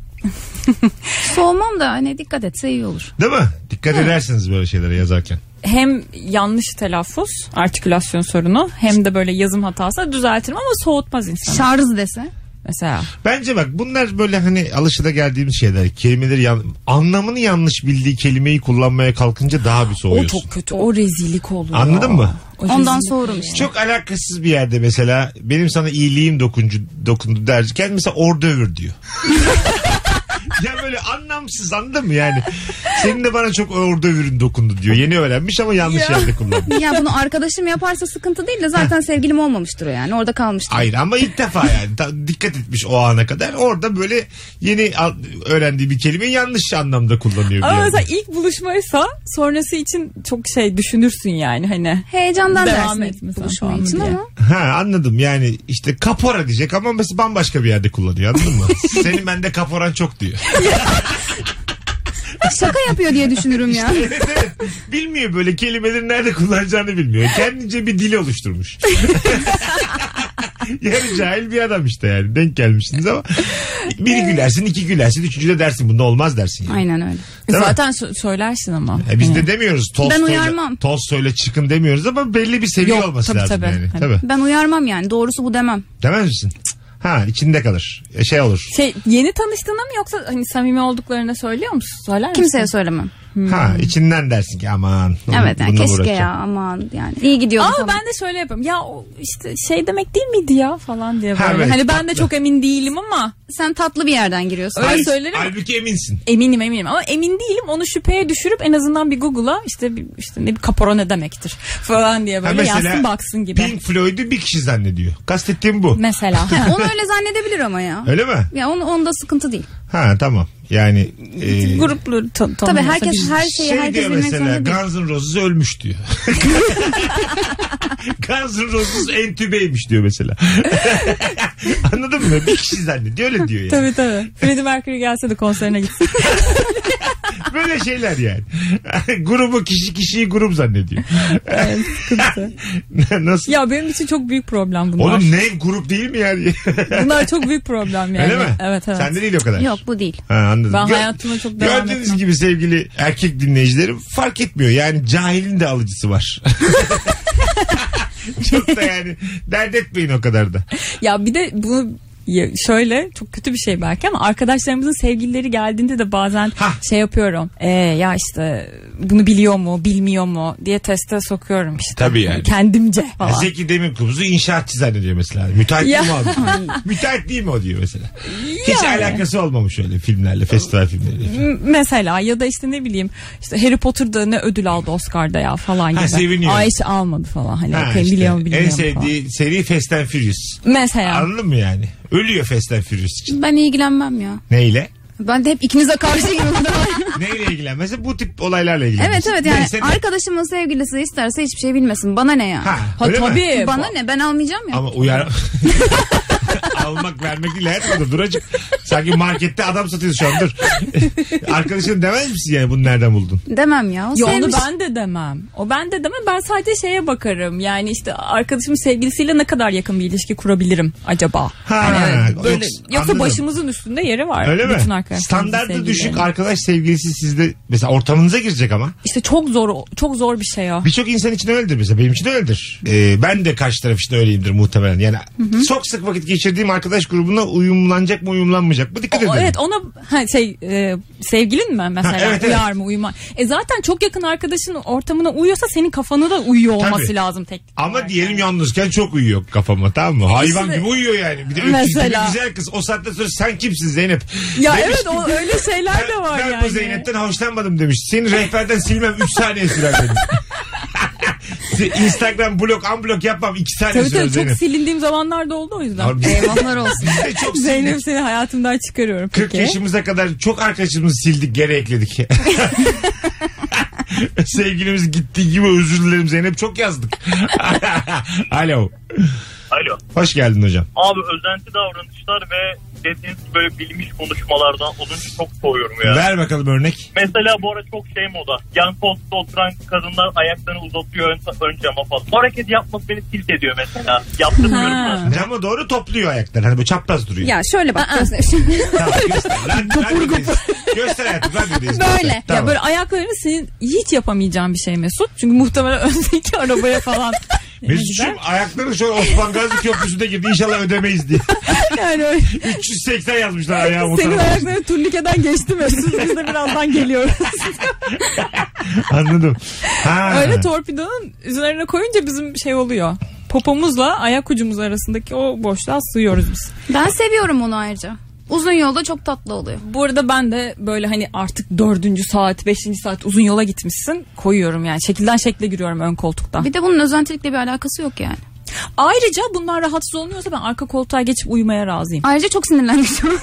D: Soğumam da hani dikkat etse iyi olur.
B: Değil mi? Dikkat edersiniz böyle şeylere yazarken.
C: Hem yanlış telaffuz, artikülasyon sorunu hem de böyle yazım hatası düzeltirim ama soğutmaz insanı.
D: Şarj dese.
C: Mesela.
B: Bence bak bunlar böyle hani alışıda geldiğimiz şeyler. Kelimeleri yan- anlamını yanlış bildiği kelimeyi kullanmaya kalkınca daha bir
C: O
B: soğuyorsun.
C: çok kötü. O rezillik olur.
B: Anladın mı?
C: O rezillik.
D: Ondan soğurum işte.
B: Çok alakasız bir yerde mesela benim sana iyiliğim dokuncu, dokundu derken mesela orada övür diyor. ya böyle anlamsız anladın mı yani? Senin de bana çok ağır dövürün dokundu diyor. Yeni öğrenmiş ama yanlış yerde kullanmış.
D: Ya bunu arkadaşım yaparsa sıkıntı değil de zaten sevgilim olmamıştır o yani. Orada kalmıştır.
B: Hayır ama ilk defa yani Ta- dikkat etmiş o ana kadar. Orada böyle yeni al- öğrendiği bir kelimeyi yanlış anlamda kullanıyor. bir
C: Ama
B: yerde.
C: mesela ilk buluşmaysa sonrası için çok şey düşünürsün yani hani.
D: Heyecandan
C: Devam
D: dersin
C: et
D: ilk
C: mesela
D: buluşma
C: falan
D: için
C: diye.
D: ama.
B: Ha anladım yani işte kapora diyecek ama mesela bambaşka bir yerde kullanıyor anladın mı? Senin bende kaporan çok diyor.
D: Şaka yapıyor diye düşünürüm ya.
B: evet, evet. Bilmiyor böyle kelimeleri nerede kullanacağını bilmiyor. Kendince bir dil oluşturmuş. Yarı cahil bir adam işte yani. Denk gelmişsiniz ama. Biri gülersin, iki gülersin, üçüncü de dersin. Bunda olmaz dersin. Yani.
D: Aynen öyle.
B: Değil mi?
C: Zaten sö- söylersin ama.
B: Ya biz de demiyoruz Tolstoy'la,
D: Ben uyarmam.
B: Tolstoy'la çıkın demiyoruz ama belli bir seviye
C: Yok,
B: olması
C: tabii,
B: lazım
C: tabii.
B: yani.
C: Hani-
B: Tabii.
D: Ben uyarmam yani. Doğrusu bu demem.
B: Demez misin? Ha içinde kalır. E, Şey olur.
C: Şey yeni tanıştığına mı yoksa hani samimi olduklarına söylüyor musun? Söyler misin?
D: Kimseye söylemem.
C: Hmm.
B: Ha içinden dersin ki aman.
D: Evet yani
B: bununla
D: keşke
B: uğraşacağım.
D: ya aman yani. İyi gidiyordu
C: Ama
D: falan.
C: ben de şöyle yaparım. Ya o işte şey demek değil miydi ya falan diye böyle.
B: Ha, evet,
C: hani ben de
B: tatlı.
C: çok emin değilim ama
D: Sen tatlı bir yerden giriyorsun.
C: Öyle
B: Hal-
C: söylerim.
B: Halbuki eminsin.
C: eminim eminim ama emin değilim onu şüpheye düşürüp en azından bir Google'a işte bir, işte ne bir kapora ne demektir falan diye
B: Ha,
C: böyle yazsın baksın gibi.
B: Pink Floyd'u bir kişi zannediyor. Kastettiğim bu.
C: Mesela.
D: Onu öyle zannedebilir ama ya.
B: Öyle mi?
D: Ya onu, onda sıkıntı değil.
B: Ha tamam. Yani e,
C: Gruplu tan-
D: Tabii
C: tanımıyorsa bir-
D: herkes her şeyi
B: şey
D: herkes
B: diyor
D: bilmek
B: mesela
D: zorunda değil.
B: Guns N' Roses ölmüş diyor. Guns N' Roses entübeymiş diyor mesela. Anladın mı? Bir kişi zannediyor öyle diyor yani.
C: Tabii tabii. Freddie Mercury gelse de konserine gitsin.
B: Böyle şeyler yani. Grubu kişi kişiyi grup zannediyor.
C: Evet, sıkıntı.
B: Nasıl?
C: ya benim için çok büyük problem bunlar.
B: Oğlum ne grup değil mi yani?
C: Bunlar çok büyük problem yani.
B: Öyle mi?
C: Evet evet.
B: Sende değil o kadar.
D: Yok bu değil.
B: Ha, anladım.
C: Ben
B: Gö-
C: hayatımda çok devam
B: Gördüğünüz
C: etmem.
B: gibi sevgili erkek dinleyicilerim fark etmiyor. Yani cahilin de alıcısı var. çok da yani dert etmeyin o kadar da.
C: Ya bir de bunu ya şöyle çok kötü bir şey belki ama arkadaşlarımızın sevgilileri geldiğinde de bazen
B: Hah.
C: şey yapıyorum. Ee, ya işte bunu biliyor mu bilmiyor mu diye teste sokuyorum işte.
B: Tabii yani.
C: Kendimce
B: Ya şey-
C: falan.
B: Zeki Demirkubuz'u inşaatçı zannediyor mesela. Müteahhit
C: Ya.
B: değil mi abi? Müteahhit değil mi o diyor mesela. Hiç
C: Yani. Hmm.
B: alakası olmamış öyle filmlerle, festival filmleriyle. falan.
C: M- Mesela ya da işte ne bileyim işte Harry Potter'da ne ödül aldı Oscar'da ya falan
B: Ha,
C: gibi.
B: seviniyor.
C: Ay işte almadı falan hani
B: Ha
C: okey,
B: işte,
C: biliyor mu bilmiyor
B: en
C: mu falan.
B: sevdiği seri Fast and Furious.
C: Mesela.
B: Anladın mı yani? Ölüyor Fast and Furious için.
D: Ben ilgilenmem ya.
B: Neyle?
D: Ben de hep ikinize karşı gibi.
B: Neyle ilgilenmesi? Bu tip olaylarla ilgilenmesi.
D: evet evet yani
B: Neyse ne.
D: arkadaşımın sevgilisi isterse hiçbir şey bilmesin. Bana ne ya?
B: Ha,
C: Ha,
B: öyle mi?
C: tabii.
D: Bana ne ben almayacağım ya.
B: Ama uyar...
C: şey
B: Almak vermek değil hayat mıdır? Dur acık. Sanki markette adam satıyor şu an dur. Arkadaşın demez misin yani bunu nereden buldun?
D: Demem ya. O
C: Ya onu
D: sevmiş.
C: ben de demem. O ben de demem. Ben sadece şeye bakarım. Yani işte arkadaşım sevgilisiyle ne kadar yakın bir ilişki kurabilirim acaba?
B: Ha,
C: Yani evet, böyle,
B: yoksa-
C: yoksa,
B: anladım.
C: başımızın üstünde yeri var.
B: Öyle mi?
C: Bütün arkadaşlarımızın
B: Standartı
C: sevgililerinin.
B: düşük arkadaş sevgilisi sizde mesela ortamınıza girecek ama.
C: İşte çok zor çok zor bir şey o.
B: Birçok insan için öyledir mesela. Benim için öyledir. Ee, ben de karşı taraf için öyleyimdir muhtemelen. Yani çok sık vakit geçirdiğim arkadaş grubuna uyumlanacak mı uyumlanmayacak mı dikkat
C: O-
B: ederim.
C: evet ona ha, şey e, sevgilin mi mesela
B: Ha, evet, evet.
C: uyar mı uyumaz? E zaten çok yakın arkadaşın ortamına uyuyorsa senin kafanı da uyuyor olması
B: Tabii.
C: lazım teknik.
B: Ama
C: olarak
B: diyelim
C: yani.
B: yalnızken çok uyuyor kafama tamam mı? Hayvan
C: İşte-
B: gibi uyuyor yani. Bir de öküz
C: Mesela.
B: gibi güzel kız. O saatten sonra sen kimsin Zeynep?
C: Ya
B: Demiş
C: evet
B: ki,
C: o öyle şeyler de var
B: ben
C: yani.
B: bu Zeynep'ten hoşlanmadım demiş. Seni rehberden silmem 3 saniye sürer demiş. Se- Instagram blok unblock yapmam 2 saniye
C: Tabii
B: sürer
C: tabii çok
B: Zeynep.
C: silindiğim zamanlar da oldu o yüzden.
B: Abi biz-
D: Eyvahlar olsun.
B: biz de çok sildik.
C: Zeynep seni hayatımdan çıkarıyorum.
B: 40
C: peki.
B: yaşımıza kadar çok arkadaşımızı sildik geri ekledik. Sevgilimiz gittiği gibi özür dilerim Zeynep çok yazdık. Alo.
E: Alo.
B: Hoş geldin hocam.
E: Abi özenti davranışlar ve dediğiniz böyle bilmiş konuşmalardan olunca çok soğuyorum ya.
B: Ver bakalım örnek.
E: Mesela bu ara çok şey moda. Yan koltukta oturan kadınlar ayaklarını uzatıyor ön, ön cama falan. Bu hareketi yapmak beni tilt ediyor mesela. Yaptırmıyorum
C: Ha.
E: ben.
B: Cama doğru topluyor ayakları. Hani böyle çapraz duruyor.
D: Ya şöyle bak. göster-
B: Tamam, göster. Lan- radyodeyiz. Göster hayatım. Radyodeyiz.
D: Böyle.
B: Göster.
D: Ya
B: Tamam.
C: Ya böyle ayaklarını senin hiç yapamayacağın bir şey Mesut. Çünkü muhtemelen öndeki arabaya falan.
B: Mesut'cum ayakları şu an Osman Gazi Köprüsü'nde girdi. İnşallah ödemeyiz diye.
C: yani öyle.
B: 380 yazmışlar ayağım o
C: Senin
B: tarafa.
C: ayakların turnikeden geçti Mesut. Biz de birazdan geliyoruz.
B: Anladım. Ha.
C: öyle torpidonun üzerine koyunca bizim şey oluyor. Popomuzla ayak ucumuz arasındaki o boşluğa sığıyoruz biz.
D: ben seviyorum onu ayrıca. Uzun yolda çok tatlı oluyor.
C: Bu arada ben de böyle hani artık dördüncü saat, beşinci saat uzun yola gitmişsin koyuyorum yani. Şekilden şekle giriyorum ön koltuktan.
D: Bir de bunun özentilikle bir alakası yok yani.
C: Ayrıca bunlar rahatsız olmuyorsa ben arka koltuğa geçip uyumaya razıyım.
D: Ayrıca çok sinirlendim şu an.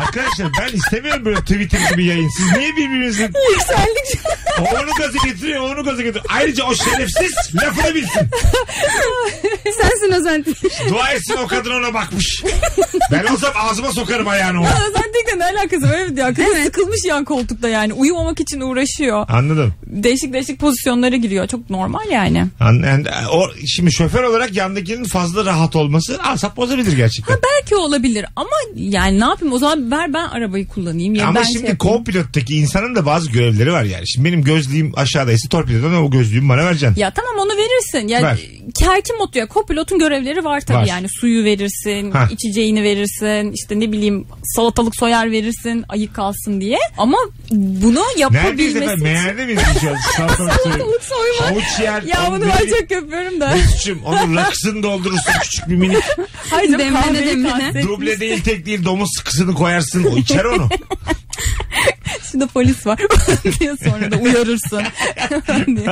B: Arkadaşlar ben istemiyorum böyle Twitter gibi yayın. Siz niye birbirinizin
C: Yükseldikçe
B: o onu gaza getiriyor, o onu gaza getiriyor. Ayrıca o şerefsiz lafını bilsin.
D: Sensin özentilik.
B: Dua etsin o kadın ona bakmış. Ben olsam ağzıma sokarım ayağını ona.
C: özellikle ne alakası var? Evet ya. Kadın sıkılmış yan koltukta yani. Uyumamak için uğraşıyor.
B: Anladım.
C: Değişik değişik pozisyonlara giriyor. Çok normal yani.
B: An- yani o, şimdi şoför olarak yandakinin fazla rahat olması asap bozabilir gerçekten.
C: Belki olabilir ama yani ne yapayım o zaman ver ben arabayı kullanayım. Ya
B: Ama
C: ben
B: şimdi
C: şey-
B: co-pilottaki insanın da bazı görevleri var yani. Şimdi benim gözlüğüm aşağıdaysa torpidodan o gözlüğümü bana vereceksin.
C: Ya tamam onu verirsin. Yani
B: Ver.
C: kerki modu ya kopilotun görevleri var tabii
B: Var.
C: yani suyu verirsin,
B: Heh.
C: içeceğini verirsin, işte ne bileyim salatalık soyar verirsin ayık kalsın diye. Ama bunu
B: Neredeyiz
C: yapabilmesi
B: efendim?
C: için-
B: Meğerde miyiz biz şu an? Salatalık soyuyor.
C: Salatalık soyma.
B: Havuç yer.
C: Ya bunu
B: onu
C: ben
B: biri-
C: çok yapıyorum da.
B: Mesut'cum onun rakısını doldurursun küçük bir minik.
C: Hayır canım,
D: Demlene
C: kahveyi
D: demlene.
C: kastetmiştim.
B: Duble değil tek değil domuz sıkısını koyarsın. O içer onu.
C: Şimdi polis var diye sonra da uyarırsın. diye.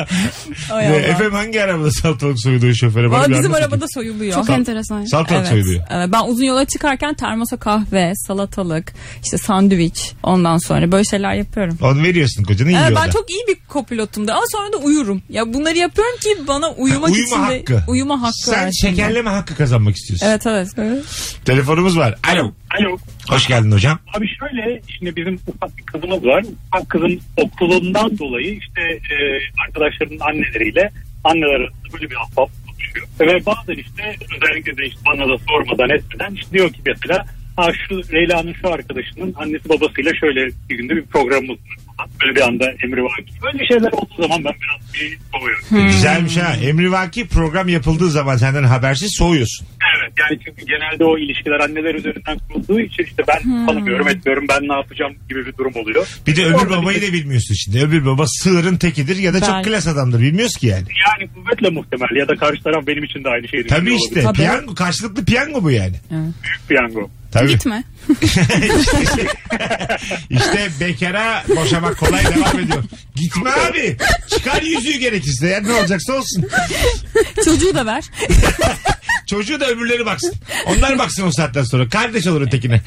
C: Ay
B: Ve
C: Allah.
B: efendim hangi arabada salatalık soyduğu şoföre? Bana
C: Valla
B: bir
C: bizim
B: anlatın.
C: arabada soyuluyor.
D: Çok enteresan.
B: Salatalık
C: Evet.
B: soyuluyor.
C: Evet, Ben uzun yola çıkarken termosa kahve, salatalık, işte sandviç ondan sonra böyle şeyler yapıyorum.
B: Onu veriyorsun kocanın
C: Evet,
B: yiyor
C: Ee, ben
B: da.
C: çok iyi bir kopilotum da ama sonra da uyurum. Ya bunları yapıyorum ki bana uyumak
B: Uyuma
C: için de-
B: hakkı.
C: uyuma hakkı
B: Sen
C: var şimdi.
B: şekerleme hakkı kazanmak istiyorsun.
C: Evet evet. evet.
B: Telefonumuz var. Alo.
I: Alo.
B: Hoş geldin hocam.
I: Abi şöyle şimdi bizim ufak bir kızımız var. Ufak kızın okulundan dolayı işte e, arkadaşlarının anneleriyle anneler arasında böyle bir ahbap oluşuyor. Ve bazen işte özellikle de işte bana da sormadan etmeden işte diyor ki mesela ha şu Leyla'nın şu arkadaşının annesi babasıyla şöyle bir günde bir programımız var. falan. Böyle bir anda emri var. Böyle şeyler olduğu zaman ben biraz bir soğuyorum.
B: Hmm. Güzelmiş ha. Emrivaki program yapıldığı zaman senden habersiz soğuyorsun.
I: Evet yani çünkü genelde o ilişkiler anneler üzerinden kurulduğu için işte ben tanımıyorum etmiyorum ben ne yapacağım gibi bir durum oluyor.
B: Bir de öbür
I: Orada bir
B: babayı da bilmiyorsun şimdi. Öbür baba sığırın tekidir ya da çok
C: Belki.
B: klas adamdır. Bilmiyoruz ki yani.
I: Yani kuvvetle muhtemel ya da karşı taraf benim için de aynı şeyi düşünüyor
B: Tabii
I: olabilir.
B: işte.
C: Tabii.
B: Piyango, karşılıklı piyango bu yani.
I: Büyük piyango.
B: Tabii.
D: Gitme.
B: İşte bekara boşamak kolay devam ediyor. Gitme abi. Çıkar yüzüğü gerekirse. Yani ne olacaksa olsun.
C: Çocuğu da ver.
B: Çocuğu da öbürleri baksın. Onlar baksın o saatten sonra. Kardeş olur ötekine.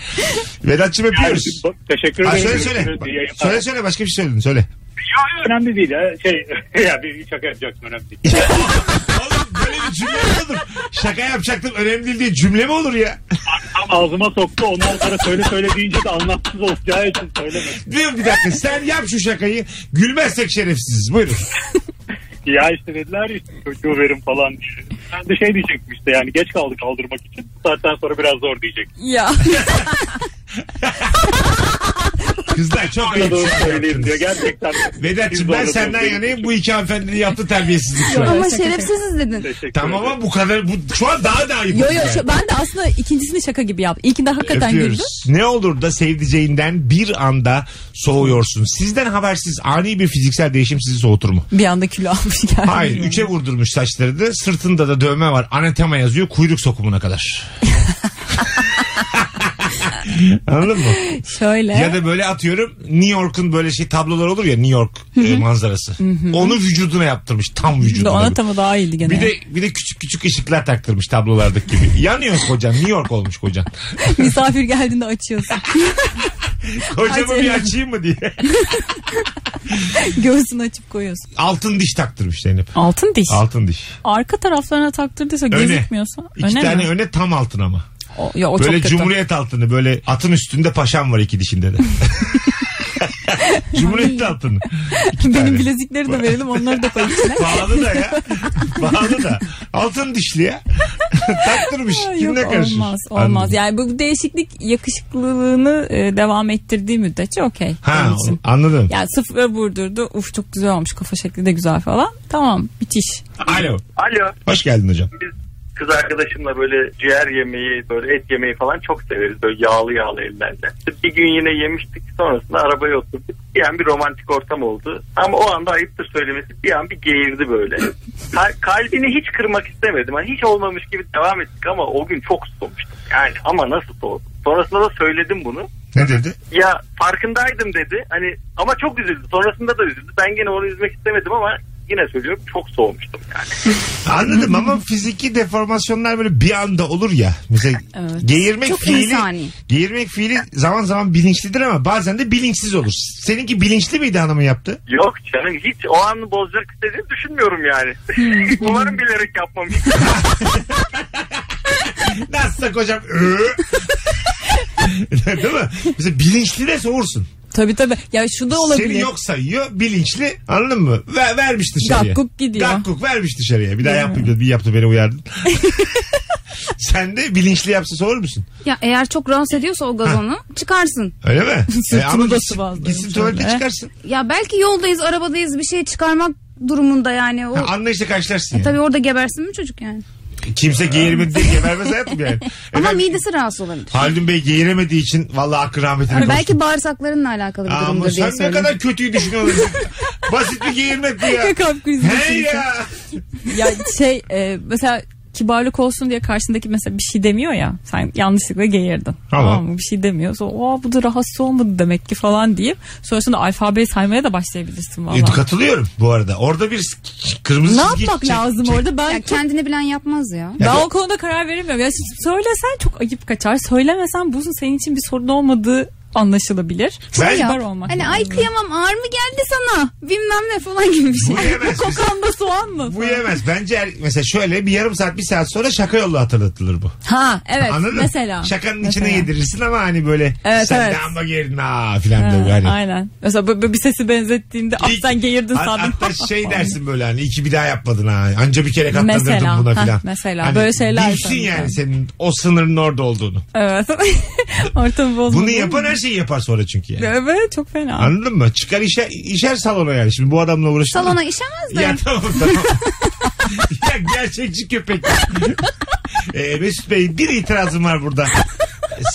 B: Vedat'cığım
I: Yani,
B: öpüyoruz.
I: bak, şey teşekkür
B: Ha,
I: ederim.
B: söyle söyle.
I: Yayınlar.
B: Söyle söyle başka bir şey söyledin söyle.
I: Ya, önemli değil ya. Şey, ya bir şaka yapacaksın önemli değil.
B: Oğlum böyle bir cümle mi olur? Şaka yapacaktım önemli değil diye cümle mi olur ya?
I: Tam ağzıma soktu ondan sonra söyle söyle deyince de anlamsız olacağı için söylemedim.
B: Diyorum bir dakika sen yap şu şakayı. Gülmezsek şerefsiziz buyurun.
I: Ya işte dediler ya işte çocuğu verin falan diye. Ben de şey diyecektim işte yani geç kaldı kaldırmak için. Bu saatten sonra biraz zor diyecek.
C: ya.
B: Kızlar çok
I: Bana doğru
B: ayıp.
I: söyleyeyim diyor gerçekten.
B: Vedat'cığım ben
I: Biz zorla
B: senden
I: zorlayın.
B: yanayım bu iki hanımefendinin yaptığı terbiyesizlik şu an.
D: Ama şerefsiziz dedin.
I: Teşekkür
B: Tamam
I: ederim.
B: ama bu kadar bu şu an daha da ayıp.
C: Yo
B: oldu
C: yo
B: yani.
C: şu- ben de aslında ikincisini şaka gibi yaptım. İlkinde hakikaten
B: Öpüyoruz.
C: güldüm.
B: Ne olur da sevdiceğinden bir anda soğuyorsun. Sizden habersiz ani bir fiziksel değişim sizi soğutur mu?
C: Bir anda kilo almış geldi.
B: Hayır. Üçe vurdurmuş saçları da. Sırtında da dövme var. Anatema yazıyor. Kuyruk sokumuna kadar. Anladın mı?
C: Şöyle.
B: Ya da böyle atıyorum New York'un böyle şey tablolar olur ya New York e, manzarası. Onu vücuduna yaptırmış. Tam vücuduna.
C: Ona tamı daha iyiydi gene.
B: bir de bir de küçük küçük ışıklar taktırmış tablolardaki gibi. Yanıyor kocan. New York olmuş kocan.
C: Misafir geldiğinde açıyorsun.
B: Kocamı
C: Ay,
B: bir
C: canım.
B: açayım mı diye.
C: Göğsünü açıp koyuyorsun.
B: Altın diş taktırmış Zeynep.
C: Altın diş.
B: Altın diş.
C: Arka taraflarına taktırdıysa
B: Öne.
C: gözükmüyorsa.
B: İki
C: öne
B: tane
C: mi?
B: öne tam altın ama.
C: O, ya o
B: böyle
C: çok kötü.
B: cumhuriyet altını böyle atın üstünde paşam var iki dişinde de. cumhuriyet altını. İki
C: Benim
B: tane.
C: bilezikleri de verelim onları da koy içine.
B: Pahalı da ya. Pahalı da. Altın dişli ya. Taktırmış. Kimle
C: Yok
B: karışır?
C: olmaz olmaz.
B: Anladım.
C: Yani bu değişiklik yakışıklılığını e, devam ettirdiği müddetçe okey.
B: Ha,
C: Onun için.
B: anladım.
C: Yani sıfıra vurdurdu. Uf çok güzel olmuş kafa şekli de güzel falan. Tamam bitiş.
B: Alo.
E: Alo.
B: Hoş geldin hocam.
E: Biz kız arkadaşımla böyle ciğer yemeği, böyle et yemeği falan çok severiz. Böyle yağlı yağlı ellerle. Bir gün yine yemiştik. Sonrasında arabaya oturduk. Bir an bir romantik ortam oldu. Ama o anda ayıptır söylemesi bir an bir geğirdi böyle. Kal- Kalbini hiç kırmak istemedim. Hani hiç olmamış gibi devam ettik ama o gün çok soğumuştum. Yani ama nasıl soğudum? Sonrasında da söyledim bunu.
B: Ne dedi?
E: Ya farkındaydım dedi. Hani ama çok üzüldü. Sonrasında da üzüldü. Ben gene onu üzmek istemedim ama yine söylüyorum çok soğumuştum yani.
B: Anladım ama fiziki deformasyonlar böyle bir anda olur ya. Mesela
C: Evet.
B: geğirmek
D: Çok
B: fiili
D: insani.
B: geğirmek fiili zaman zaman bilinçlidir ama bazen de bilinçsiz olur. Seninki bilinçli miydi hanımın yaptı?
E: Yok canım hiç o anı bozacak istediğini düşünmüyorum yani. Umarım bilerek yapmam. Hiç
B: Nasılsa kocam "Ö." Değil mi? Mesela bilinçli de soğursun.
C: Tabii tabii. Ya şu da olabilir.
B: Seni yok sayıyor bilinçli anladın mı? Ver, vermiş dışarıya.
C: Gakkuk gidiyor.
B: Gakkuk vermiş dışarıya. Bir daha yaptı bir yaptı beni uyardın. Sen de bilinçli yapsa soğur musun?
D: Ya eğer çok rahatsız ediyorsa o gazonu çıkarsın.
B: Öyle mi? E,
C: Sırtını da
B: gitsin,
C: sıvazlamış
B: gitsin tuvalete
C: öyle.
B: çıkarsın.
D: Ya belki yoldayız arabadayız bir şey çıkarmak durumunda yani. O,
B: Ha, anlayışla karşılarsın.
D: E
B: yani.
D: tabii orada gebersin mi çocuk yani?
B: Kimse geğirmedi diye gebermez hayatım yani.
D: Ama
B: Efendim,
D: midesi rahatsız olabilir.
B: Haldun Bey geğiremediği için vallahi hakkı rahmetine
D: Yani
B: kavuştu.
D: belki bağırsaklarınla alakalı bir
B: Aa, Ama
D: durumdur diye
B: sen ne
D: söylüyorum.
B: kadar kötüyü düşünüyorsun. Basit bir geğirmek bu ya.
C: Kalp krizi
B: Hey
C: geçirirsin.
B: ya.
C: ya şey e, mesela kibarlık olsun diye karşındaki mesela bir şey demiyor ya sen yanlışlıkla geğirdin.
B: Tamam.
C: mı? Bir şey demiyor. Sonra o bu da rahatsız olmadı demek ki falan deyip sonrasında alfabeyi saymaya da başlayabilirsin valla.
B: E, katılıyorum bu arada. Orada bir s- kırmızı
C: ne
B: çizgi
C: yapmak
B: çek-
C: lazım
B: çek-
C: orada? Ben
D: Ya kendini bilen yapmaz ya.
C: ben o konuda karar veremiyorum. Ya şimdi söylesen çok ayıp kaçar. Söylemesen bunun senin için bir sorun olmadığı anlaşılabilir.
B: Ben-
C: Kibar
D: Ya,
C: olmak
D: hani
C: lazım.
D: ay kıyamam ağır mı geldi sana? Bilmem ne falan gibi bir şey.
B: Bu yemez.
C: Kokanda soğan mı?
B: bu yemez. Bence er- mesela şöyle bir yarım saat bir saat sonra şaka yolla hatırlatılır bu.
C: Ha evet
B: Anladın mı?
C: mesela.
B: Şakanın
C: Mesela.
B: içine yedirirsin ama hani böyle
C: Evet,
B: sen de
C: evet.
B: amma geğirdin ha filan
C: Ha,
B: böyle. Hani.
C: Aynen. Mesela böyle bir sesi benzettiğinde ah
B: İlk-
C: sen geğirdin
B: Hat-
C: sandım.
B: Hatta şey dersin böyle hani iki bir daha yapmadın ha. Anca bir kere katlandırdın
C: Mesela,
B: buna
C: heh,
B: filan.
C: mesela.
B: Hani
C: Böyle şeyler
B: Bilsin
C: sanırım.
B: yani senin o sınırın orada olduğunu.
C: Evet. Ortamı bozma.
B: Bunu
C: değil
B: yapan
C: mi?
B: her şeyi yapar sonra çünkü yani.
C: Evet çok fena.
B: Anladın mı? Çıkar işer, işer salona yani. Şimdi bu adamla uğraştın.
D: Salona işemez de.
B: Ya tamam tamam. ya gerçekçi köpek. ee, Mesut Bey bir itirazım var burada.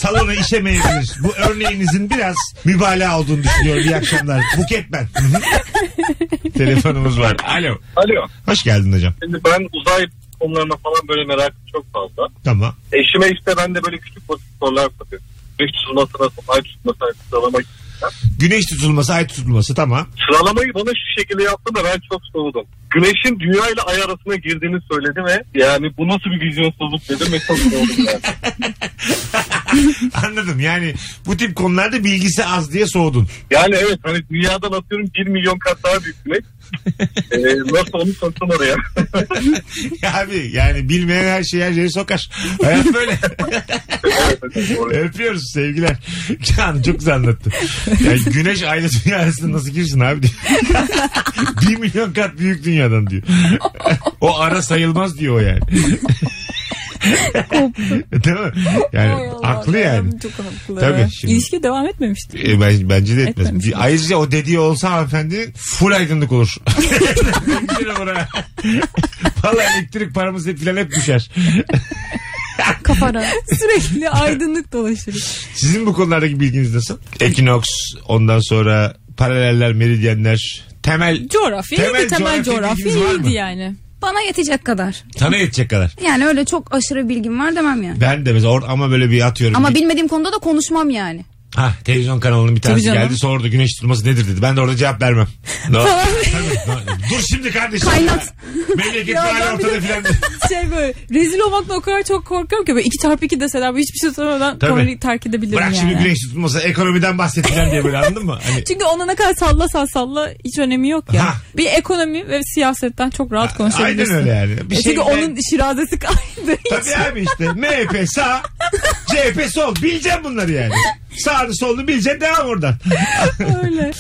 B: Salona işemeyebilir. Bu örneğinizin biraz mübalağa olduğunu düşünüyorum. İyi akşamlar. Buket ben. Telefonumuz var. Alo.
I: Alo.
B: Hoş geldin hocam.
I: Şimdi ben uzay konularına falan böyle merakım çok fazla.
B: Tamam.
I: Eşime işte ben de böyle küçük basit sorular soruyorum. Güneş tutulmasına, ay tutulmasına sıralama
B: Güneş tutulması, ay tutulması tamam.
I: Sıralamayı bana şu şekilde yaptı da ben çok soğudum. Güneşin dünya ile ay arasına girdiğini söyledi ve yani bu nasıl bir vizyonsuzluk dedim ve çok soğudum yani.
B: Anladım. Yani bu tip konularda bilgisi az diye soğudun.
I: Yani evet hani dünyadan atıyorum 1 milyon kat daha büyük güneş. ee, nasıl onu soktum oraya.
B: Ya Abi yani bilmeyen her şeyi her yere sokar. Hayat böyle. Öpüyoruz sevgiler. Can çok güzel anlattı. Yani güneş aile dünya arasında nasıl girsin abi diyor. Bir milyon kat büyük dünyadan diyor. o ara sayılmaz diyor o yani. Değil mi? Yani
C: Ay Allah,
B: haklı yani.
C: Çok haklı.
B: Tabii, şimdi-
C: İlişki devam etmemişti.
B: E, ben- bence de etmez.
C: Etmemiş.
B: Bir- Ayrıca o dediği olsa hanımefendi full aydınlık olur. Ben giderim oraya. Valla elektrik paramız hep filan hep düşer.
D: Kafara.
C: Sürekli aydınlık dolaşır.
B: Sizin bu konulardaki bilginiz nasıl? Ekinoks, ondan sonra paraleller, meridyenler, temel
C: Coğrafya
B: Temel
C: iyiydi.
B: coğrafya
C: Temel coğrafya
B: bilginiz var mı?
C: iyiydi yani.
D: Bana yetecek kadar.
B: sana yetecek kadar.
D: Yani öyle çok aşırı bilgim var demem yani.
B: Ben de mesela or- ama böyle bir atıyorum.
D: Ama
B: Bir-
D: bilmediğim konuda da konuşmam yani.
B: Ha, televizyon kanalının bir tanesi
C: Tabii canım.
B: geldi sordu güneş tutulması nedir dedi. Ben de orada cevap vermem. No. Tabii, no. Dur şimdi kardeşim.
D: Kaynat.
B: Memleket
C: Ya
B: hala
C: ben bir
B: ortada
C: de-
B: filan.
C: Şey böyle rezil olmakla o kadar çok korkuyorum ki böyle iki çarpı iki deseler böyle hiçbir şey söylemeden
B: Tabii.
C: konuyu terk edebilirim
B: Bırak
C: yani.
B: şimdi güneş tutulması ekonomiden bahsettiler diye böyle anladın mı? Hani
C: Çünkü ona ne kadar salla salla salla hiç önemi yok ya.
B: Ha.
C: Bir ekonomi ve siyasetten çok rahat konuşabilirsin.
B: Aynen öyle yani. Bir
C: E çünkü
B: şeyden-
C: onun şirazesi kaydı.
B: Tabii abi işte. MHP sağ, CHP sol. Bileceksin bunları yani. Sağını solunu bileceksin devam oradan.
C: öyle.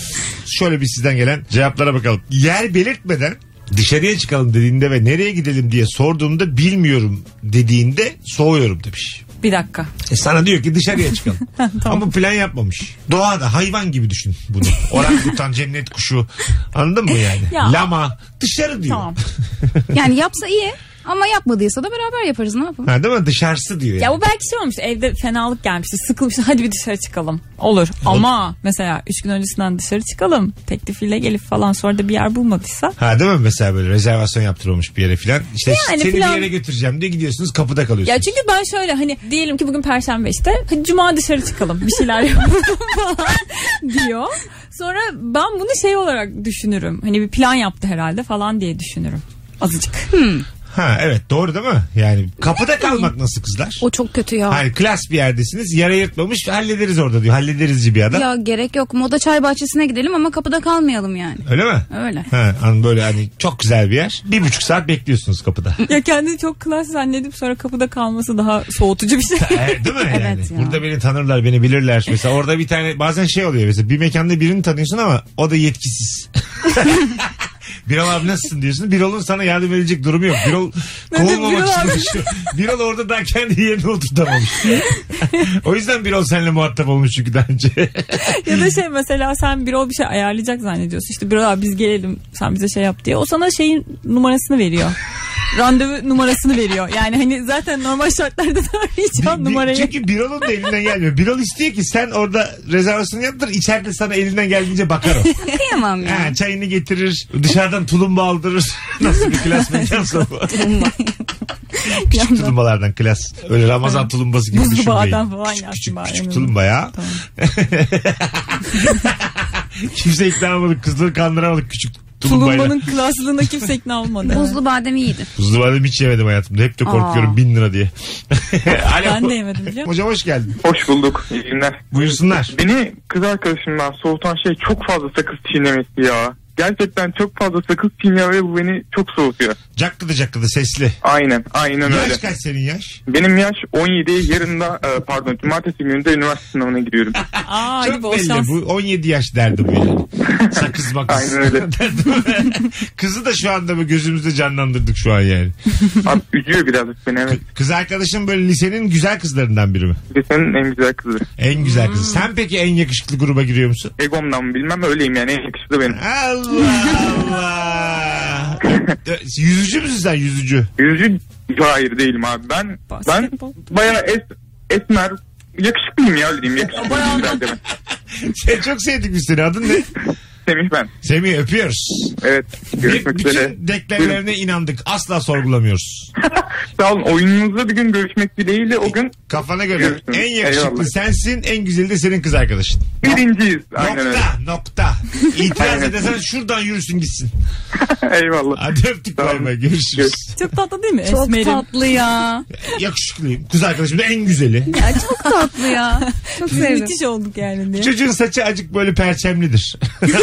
B: Şöyle bir sizden gelen cevaplara bakalım. Yer belirtmeden dışarıya çıkalım dediğinde ve nereye gidelim diye sorduğumda bilmiyorum dediğinde soğuyorum demiş.
C: Bir dakika.
B: E sana diyor ki dışarıya çıkalım. Ama plan yapmamış. Doğada hayvan gibi düşün bunu. Orangutan, cennet kuşu. Anladın mı yani?
C: Ya.
B: Lama. Dışarı diyor.
C: Tamam.
D: Yani yapsa iyi. Ama yapmadıysa da beraber yaparız ne yapalım.
B: Ha, değil mi? Dışarısı diyor yani.
C: Ya bu belki şey olmuş evde fenalık gelmişti sıkılmıştı hadi bir dışarı çıkalım. Olur ama mesela 3 gün öncesinden dışarı çıkalım teklifiyle gelip falan sonra da bir yer bulmadıysa.
B: Ha değil mi mesela böyle rezervasyon yaptırılmış bir yere filan. İşte
C: Yani
B: seni
C: filan-
B: bir yere götüreceğim diye gidiyorsunuz kapıda kalıyorsunuz.
C: Ya çünkü ben şöyle hani diyelim ki bugün perşembe işte hadi cuma dışarı çıkalım bir şeyler yapalım falan diyor. Sonra ben bunu şey olarak düşünürüm hani bir plan yaptı herhalde falan diye düşünürüm azıcık.
B: Hmm. Ha evet doğru değil mi? Yani kapıda kalmak nasıl kızlar?
D: O çok kötü ya.
B: Hani klas bir yerdesiniz yara yırtmamış hallederiz orada diyor. Hallederiz bir adam.
D: Ya gerek yok. Moda çay bahçesine gidelim ama kapıda kalmayalım yani.
B: Öyle mi?
D: Öyle.
B: Ha, hani böyle hani çok güzel bir yer. Bir buçuk saat bekliyorsunuz kapıda.
C: Ya kendini çok klas zannedip sonra kapıda kalması daha soğutucu bir şey.
B: E, Değil mi yani?
D: Evet ya.
B: Burada beni tanırlar, beni bilirler. Mesela orada bir tane bazen şey oluyor mesela bir mekanda birini tanıyorsun ama o da yetkisiz. Birol abi nasılsın diyorsun. Birol'un sana yardım edecek durumu yok. Birol
C: Ben de
B: kovulmamak
C: Birol
B: için
C: abi-
B: uğraşıyor. Birol orada daha kendi yerine oturtamamış. o yüzden Birol seninle muhatap olmuş çünkü daha önce.
C: ya da şey mesela sen bir o bir şey ayarlayacak zannediyorsun. İşte bir abi biz gelelim sen bize şey yap diye. O sana şeyin numarasını veriyor. Randevu numarasını veriyor. Yani hani zaten normal şartlarda da arayacağın
B: Bi- bi-
C: numarayı.
B: Çünkü Birol'un da elinden gelmiyor. Birol istiyor ki sen orada rezervasyonu yaptır. içeride sana elinden geldiğince bakar o.
D: Kıyamam ya.
B: Ha, çayını getirir, dışarıdan tulumba aldırır. Nasıl bir klas mekansa bu. küçük tulumbalardan klas. Öyle Ramazan tulumbası gibi
C: Buzlu
B: düşünmeyin.
C: bağdan falan
B: küçük,
C: yapsın
B: küçük,
C: bari.
B: küçük tulumba ya.
C: Tamam.
B: Kimse ikna olmadık, kızları kandıramadık küçük tulumbayla.
C: Tulumbanın klaslığına kimse ikna olmadı.
D: Buzlu badem iyiydi.
B: Buzlu badem hiç yemedim hayatımda. Hep de korkuyorum
D: Aa.
B: bin lira diye. Alo.
C: Ben de yemedim biliyor musun?
B: Hocam hoş geldin.
J: Hoş bulduk. İyi günler.
B: Buyursunlar.
J: Beni kız arkadaşımdan soğutan şey çok fazla sakız çiğnemesi ya. Gerçekten çok fazla sakız çiğniyor ve bu beni çok soğutuyor.
B: Cakkıdı cakkıdı sesli.
J: Aynen, aynen öyle.
B: Yaş kaç senin yaş?
J: Benim yaş 17, yarın da e, pardon cumartesi günü de üniversite sınavına giriyorum.
C: Aa gibi
B: Çok
C: o
B: belli
C: şans.
B: bu 17 yaş derdi bu yani. Sakız bakız.
J: Aynen öyle.
B: Derdi bu. Kızı da şu anda bu gözümüzde canlandırdık şu an yani.
J: Abi üzüyor birazcık beni evet.
B: Kız arkadaşın böyle lisenin güzel kızlarından biri mi?
J: Lisenin en güzel kızı.
B: En güzel kızı. Sen peki en yakışıklı gruba giriyor musun?
J: Egomdan mı bilmem öyleyim yani en yakışıklı benim.
B: Allah Allah. Ö, yüzücü müsün sen yüzücü?
J: Yüzücü hayır değilim abi. Ben
C: Basketbol.
J: ben bayağı es, esmer yakışıklıyım ya öyle diyeyim. Yakışıklıyım bence ben.
B: Sen çok sevdik biz seni. Adın ne?
J: Semih ben.
B: Semih öpüyoruz.
J: Evet.
B: Bir,
J: Görüşmek üzere.
B: bütün denklemlerine inandık. Asla sorgulamıyoruz.
J: Sağ olun. Oyununuzda bir gün görüşmek dileğiyle o gün
B: Kafana göre.
J: Görüşürüz.
B: En yakışıklı
J: Eyvallah.
B: sensin. En güzeli de senin kız arkadaşın.
J: birinciyiz. Aynen öyle.
B: Nokta nokta. İtiraz
J: Aynen.
B: edersen şuradan yürüsün gitsin.
J: Eyvallah.
B: Hadi öptük
J: Tamam.
B: bay bay görüşürüz.
C: Çok tatlı değil mi?
D: Çok
C: Esmerim.
D: tatlı ya.
B: Yakışıklıyım. Kız arkadaşım da en güzeli.
D: ya. Çok tatlı ya. Çok
C: Biz
D: sevdim.
C: Müthiş olduk yani diye.
B: Çocuğun saçı acık böyle perçemlidir.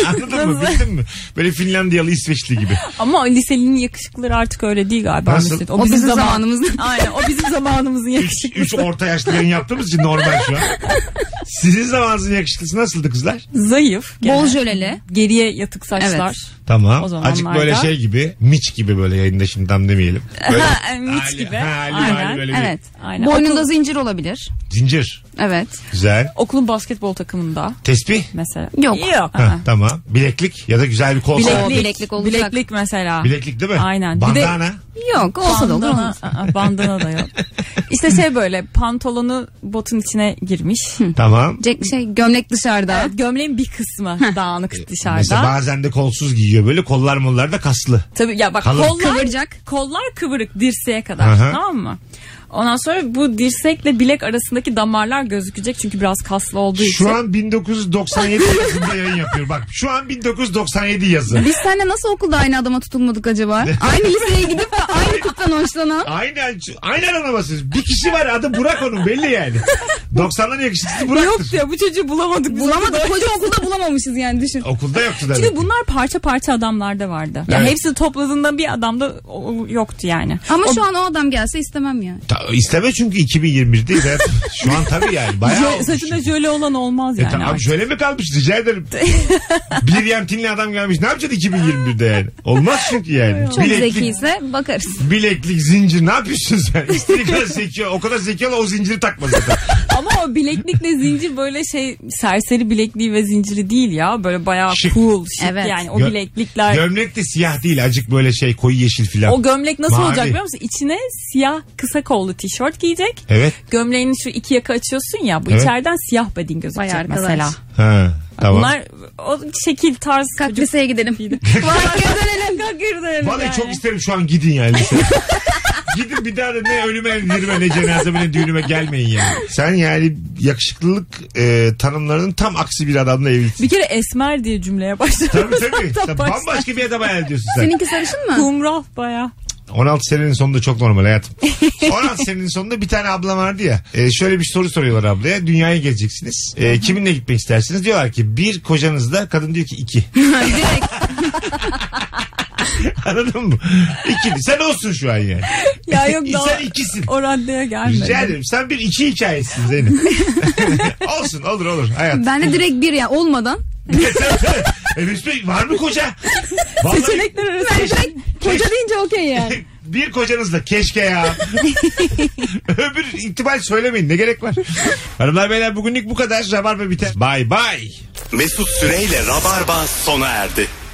B: Anladın mı?
C: Nasıl?
B: Bildin mi? Böyle Finlandiyalı İsveçli gibi.
C: Ama o liselinin yakışıklıları artık öyle değil galiba.
B: Nasıl?
C: Mesut.
D: O bizim
C: zaman-
D: zamanımızda.
C: Aynen o bizim zamanımızın
B: Üç,
C: yakışıklısı.
B: üç orta yaşlıların yaptığımız için normal şu an. Sizin zamanınızın yakışıklısı nasıldı kızlar?
C: Zayıf.
D: Bol
C: genel.
D: jöleli.
C: Geriye yatık saçlar.
D: Evet.
B: Tamam.
C: O zamanlarda-
B: Acık böyle şey gibi. Miç gibi böyle yayında şimdi tam demeyelim. Böyle
C: Ha, miç gibi.
B: Ha, hali,
C: Aynen.
B: hali böyle bir-
D: Evet.
C: Aynen.
D: Boynunda
C: Okul-
D: zincir olabilir.
B: Zincir.
D: Evet.
B: Güzel.
C: Okulun basketbol takımında
B: Tespih.
C: mesela.
D: Yok.
C: Yok.
B: Ha, tamam. Bileklik ya da güzel bir kol.
D: Bileklik.
B: saati.
D: bileklik olacak.
C: Bileklik mesela.
B: Bileklik değil mi?
C: Aynen. Bir de-
B: Bandana.
D: Yok olsa da olur.
C: Bandana,
D: olmaz.
C: Aa, bandana da yok. İşte şey böyle pantolonu botun içine girmiş.
B: Tamam.
D: Jack- Şey, gömlek dışarıda.
C: Evet, gömleğin bir kısmı dağınık
B: E, Mesela
C: dışarıda.
B: bazen de kolsuz giyiyor böyle kollar mollar da kaslı.
C: Tabii ya bak
B: Kalın.
C: kollar
D: Kıvıracak.
C: kollar kıvırık dirseğe kadar
B: Aha.
C: tamam mı? Ondan sonra bu dirsekle bilek arasındaki damarlar gözükecek çünkü biraz kaslı olduğu için.
B: Şu an 1997 yazında yayın yapıyor. Bak şu an 1997 yazı.
D: Biz seninle nasıl okulda aynı adama tutulmadık acaba? aynı liseye gidip de aynı kızdan hoşlanan.
B: Aynı, aynı aramasınız. Bir kişi var adı Burak onun belli yani. 90'ların yakışıklısı
C: Yok
B: Burak'tır.
C: ya bu çocuğu bulamadık. biz
D: Bulamadık. Koca okulda bulamamışız yani düşün.
B: Okulda yoktu da.
C: Çünkü bunlar parça parça adamlarda vardı. Ya
B: Evet.
C: hepsi topladığında bir adamda o- o yoktu yani.
D: Ama şu an o adam gelse istemem yani.
B: Ta- isteme çünkü 2021'deyiz. Evet. Şu an tabii yani. Bayağı
C: Jö-
B: olmuş.
C: saçında jöle olan olmaz
B: E
C: yani.
B: tamam
C: artık.
B: şöyle mi kalmış rica ederim. bir yemtinli adam gelmiş. Ne yapacaksın 2021'de yani? Olmaz çünkü yani.
D: Çok
B: Bileklik-
D: zekiyse bakarız.
B: bileklik, zincir ne yapıyorsun sen? İstediği kadar zeki ol. O kadar zeki ol o zinciri takma zaten.
C: Ama o bileklikle zincir böyle şey serseri bilekliği ve zinciri değil ya. Böyle bayağı
B: Şık.
C: cool şık
D: Evet.
C: yani o
B: Gö-
C: bileklikler.
B: Gömlek de siyah değil acık böyle şey koyu yeşil filan.
C: o gömlek nasıl
B: Mavi.
C: olacak biliyor musun? İçine siyah kısa kollu tişört giyecek.
B: Evet.
C: Gömleğini şu iki yaka açıyorsun ya bu
B: Evet.
C: içeriden siyah beden gözükecek
D: Vay arkadaş.
C: mesela.
B: Ha, tamam.
C: Bunlar o şekil tarz
D: Kalk
C: çocuk-
D: liseye gidelim. Kalk geri dönelim. Kalk geri dönelim.
B: Vallahi
D: yani.
B: çok isterim şu an gidin yani. liseye. gidin bir daha da ne ölüme dirime ne cenazeme ne düğünüme gelmeyin yani. Sen yani yakışıklılık e, tanımlarının tam aksi bir adamla evlisin.
C: Bir kere esmer diye cümleye başladım.
B: Tabii tabii.
C: Tam
B: Sen
C: baştan.
B: bambaşka bir adam hayal ediyorsun sen.
D: Seninki sarışın mı?
C: Kumrah baya.
B: 16 senenin sonunda çok normal hayatım. 16 senenin sonunda bir tane ablam vardı ya. E, şöyle bir soru soruyorlar ablaya. Dünyaya gezeceksiniz. E, kiminle gitmek istersiniz? Diyorlar ki bir kocanızla. Kadın diyor ki iki.
D: Direkt.
B: Anladın mı? İki. Sen olsun şu an yani.
C: Ya yok daha
B: Sen ikisin.
C: o raddeye gelmedim.
B: Rica ederim. Sen bir iki hikayesin Zeynep. olsun olur olur hayat.
D: Ben de direkt bir ya olmadan.
B: e, Mesut Bey, var mı koca? Vallahi
C: Seçenekler arasında.
D: Koca deyince okey yani.
B: bir kocanızla keşke ya. Öbür ihtimal söylemeyin ne gerek var. Hanımlar beyler bugünlük bu kadar. Rabarba biter. Bay bay.
A: Mesut Süreyle Rabarba sona erdi.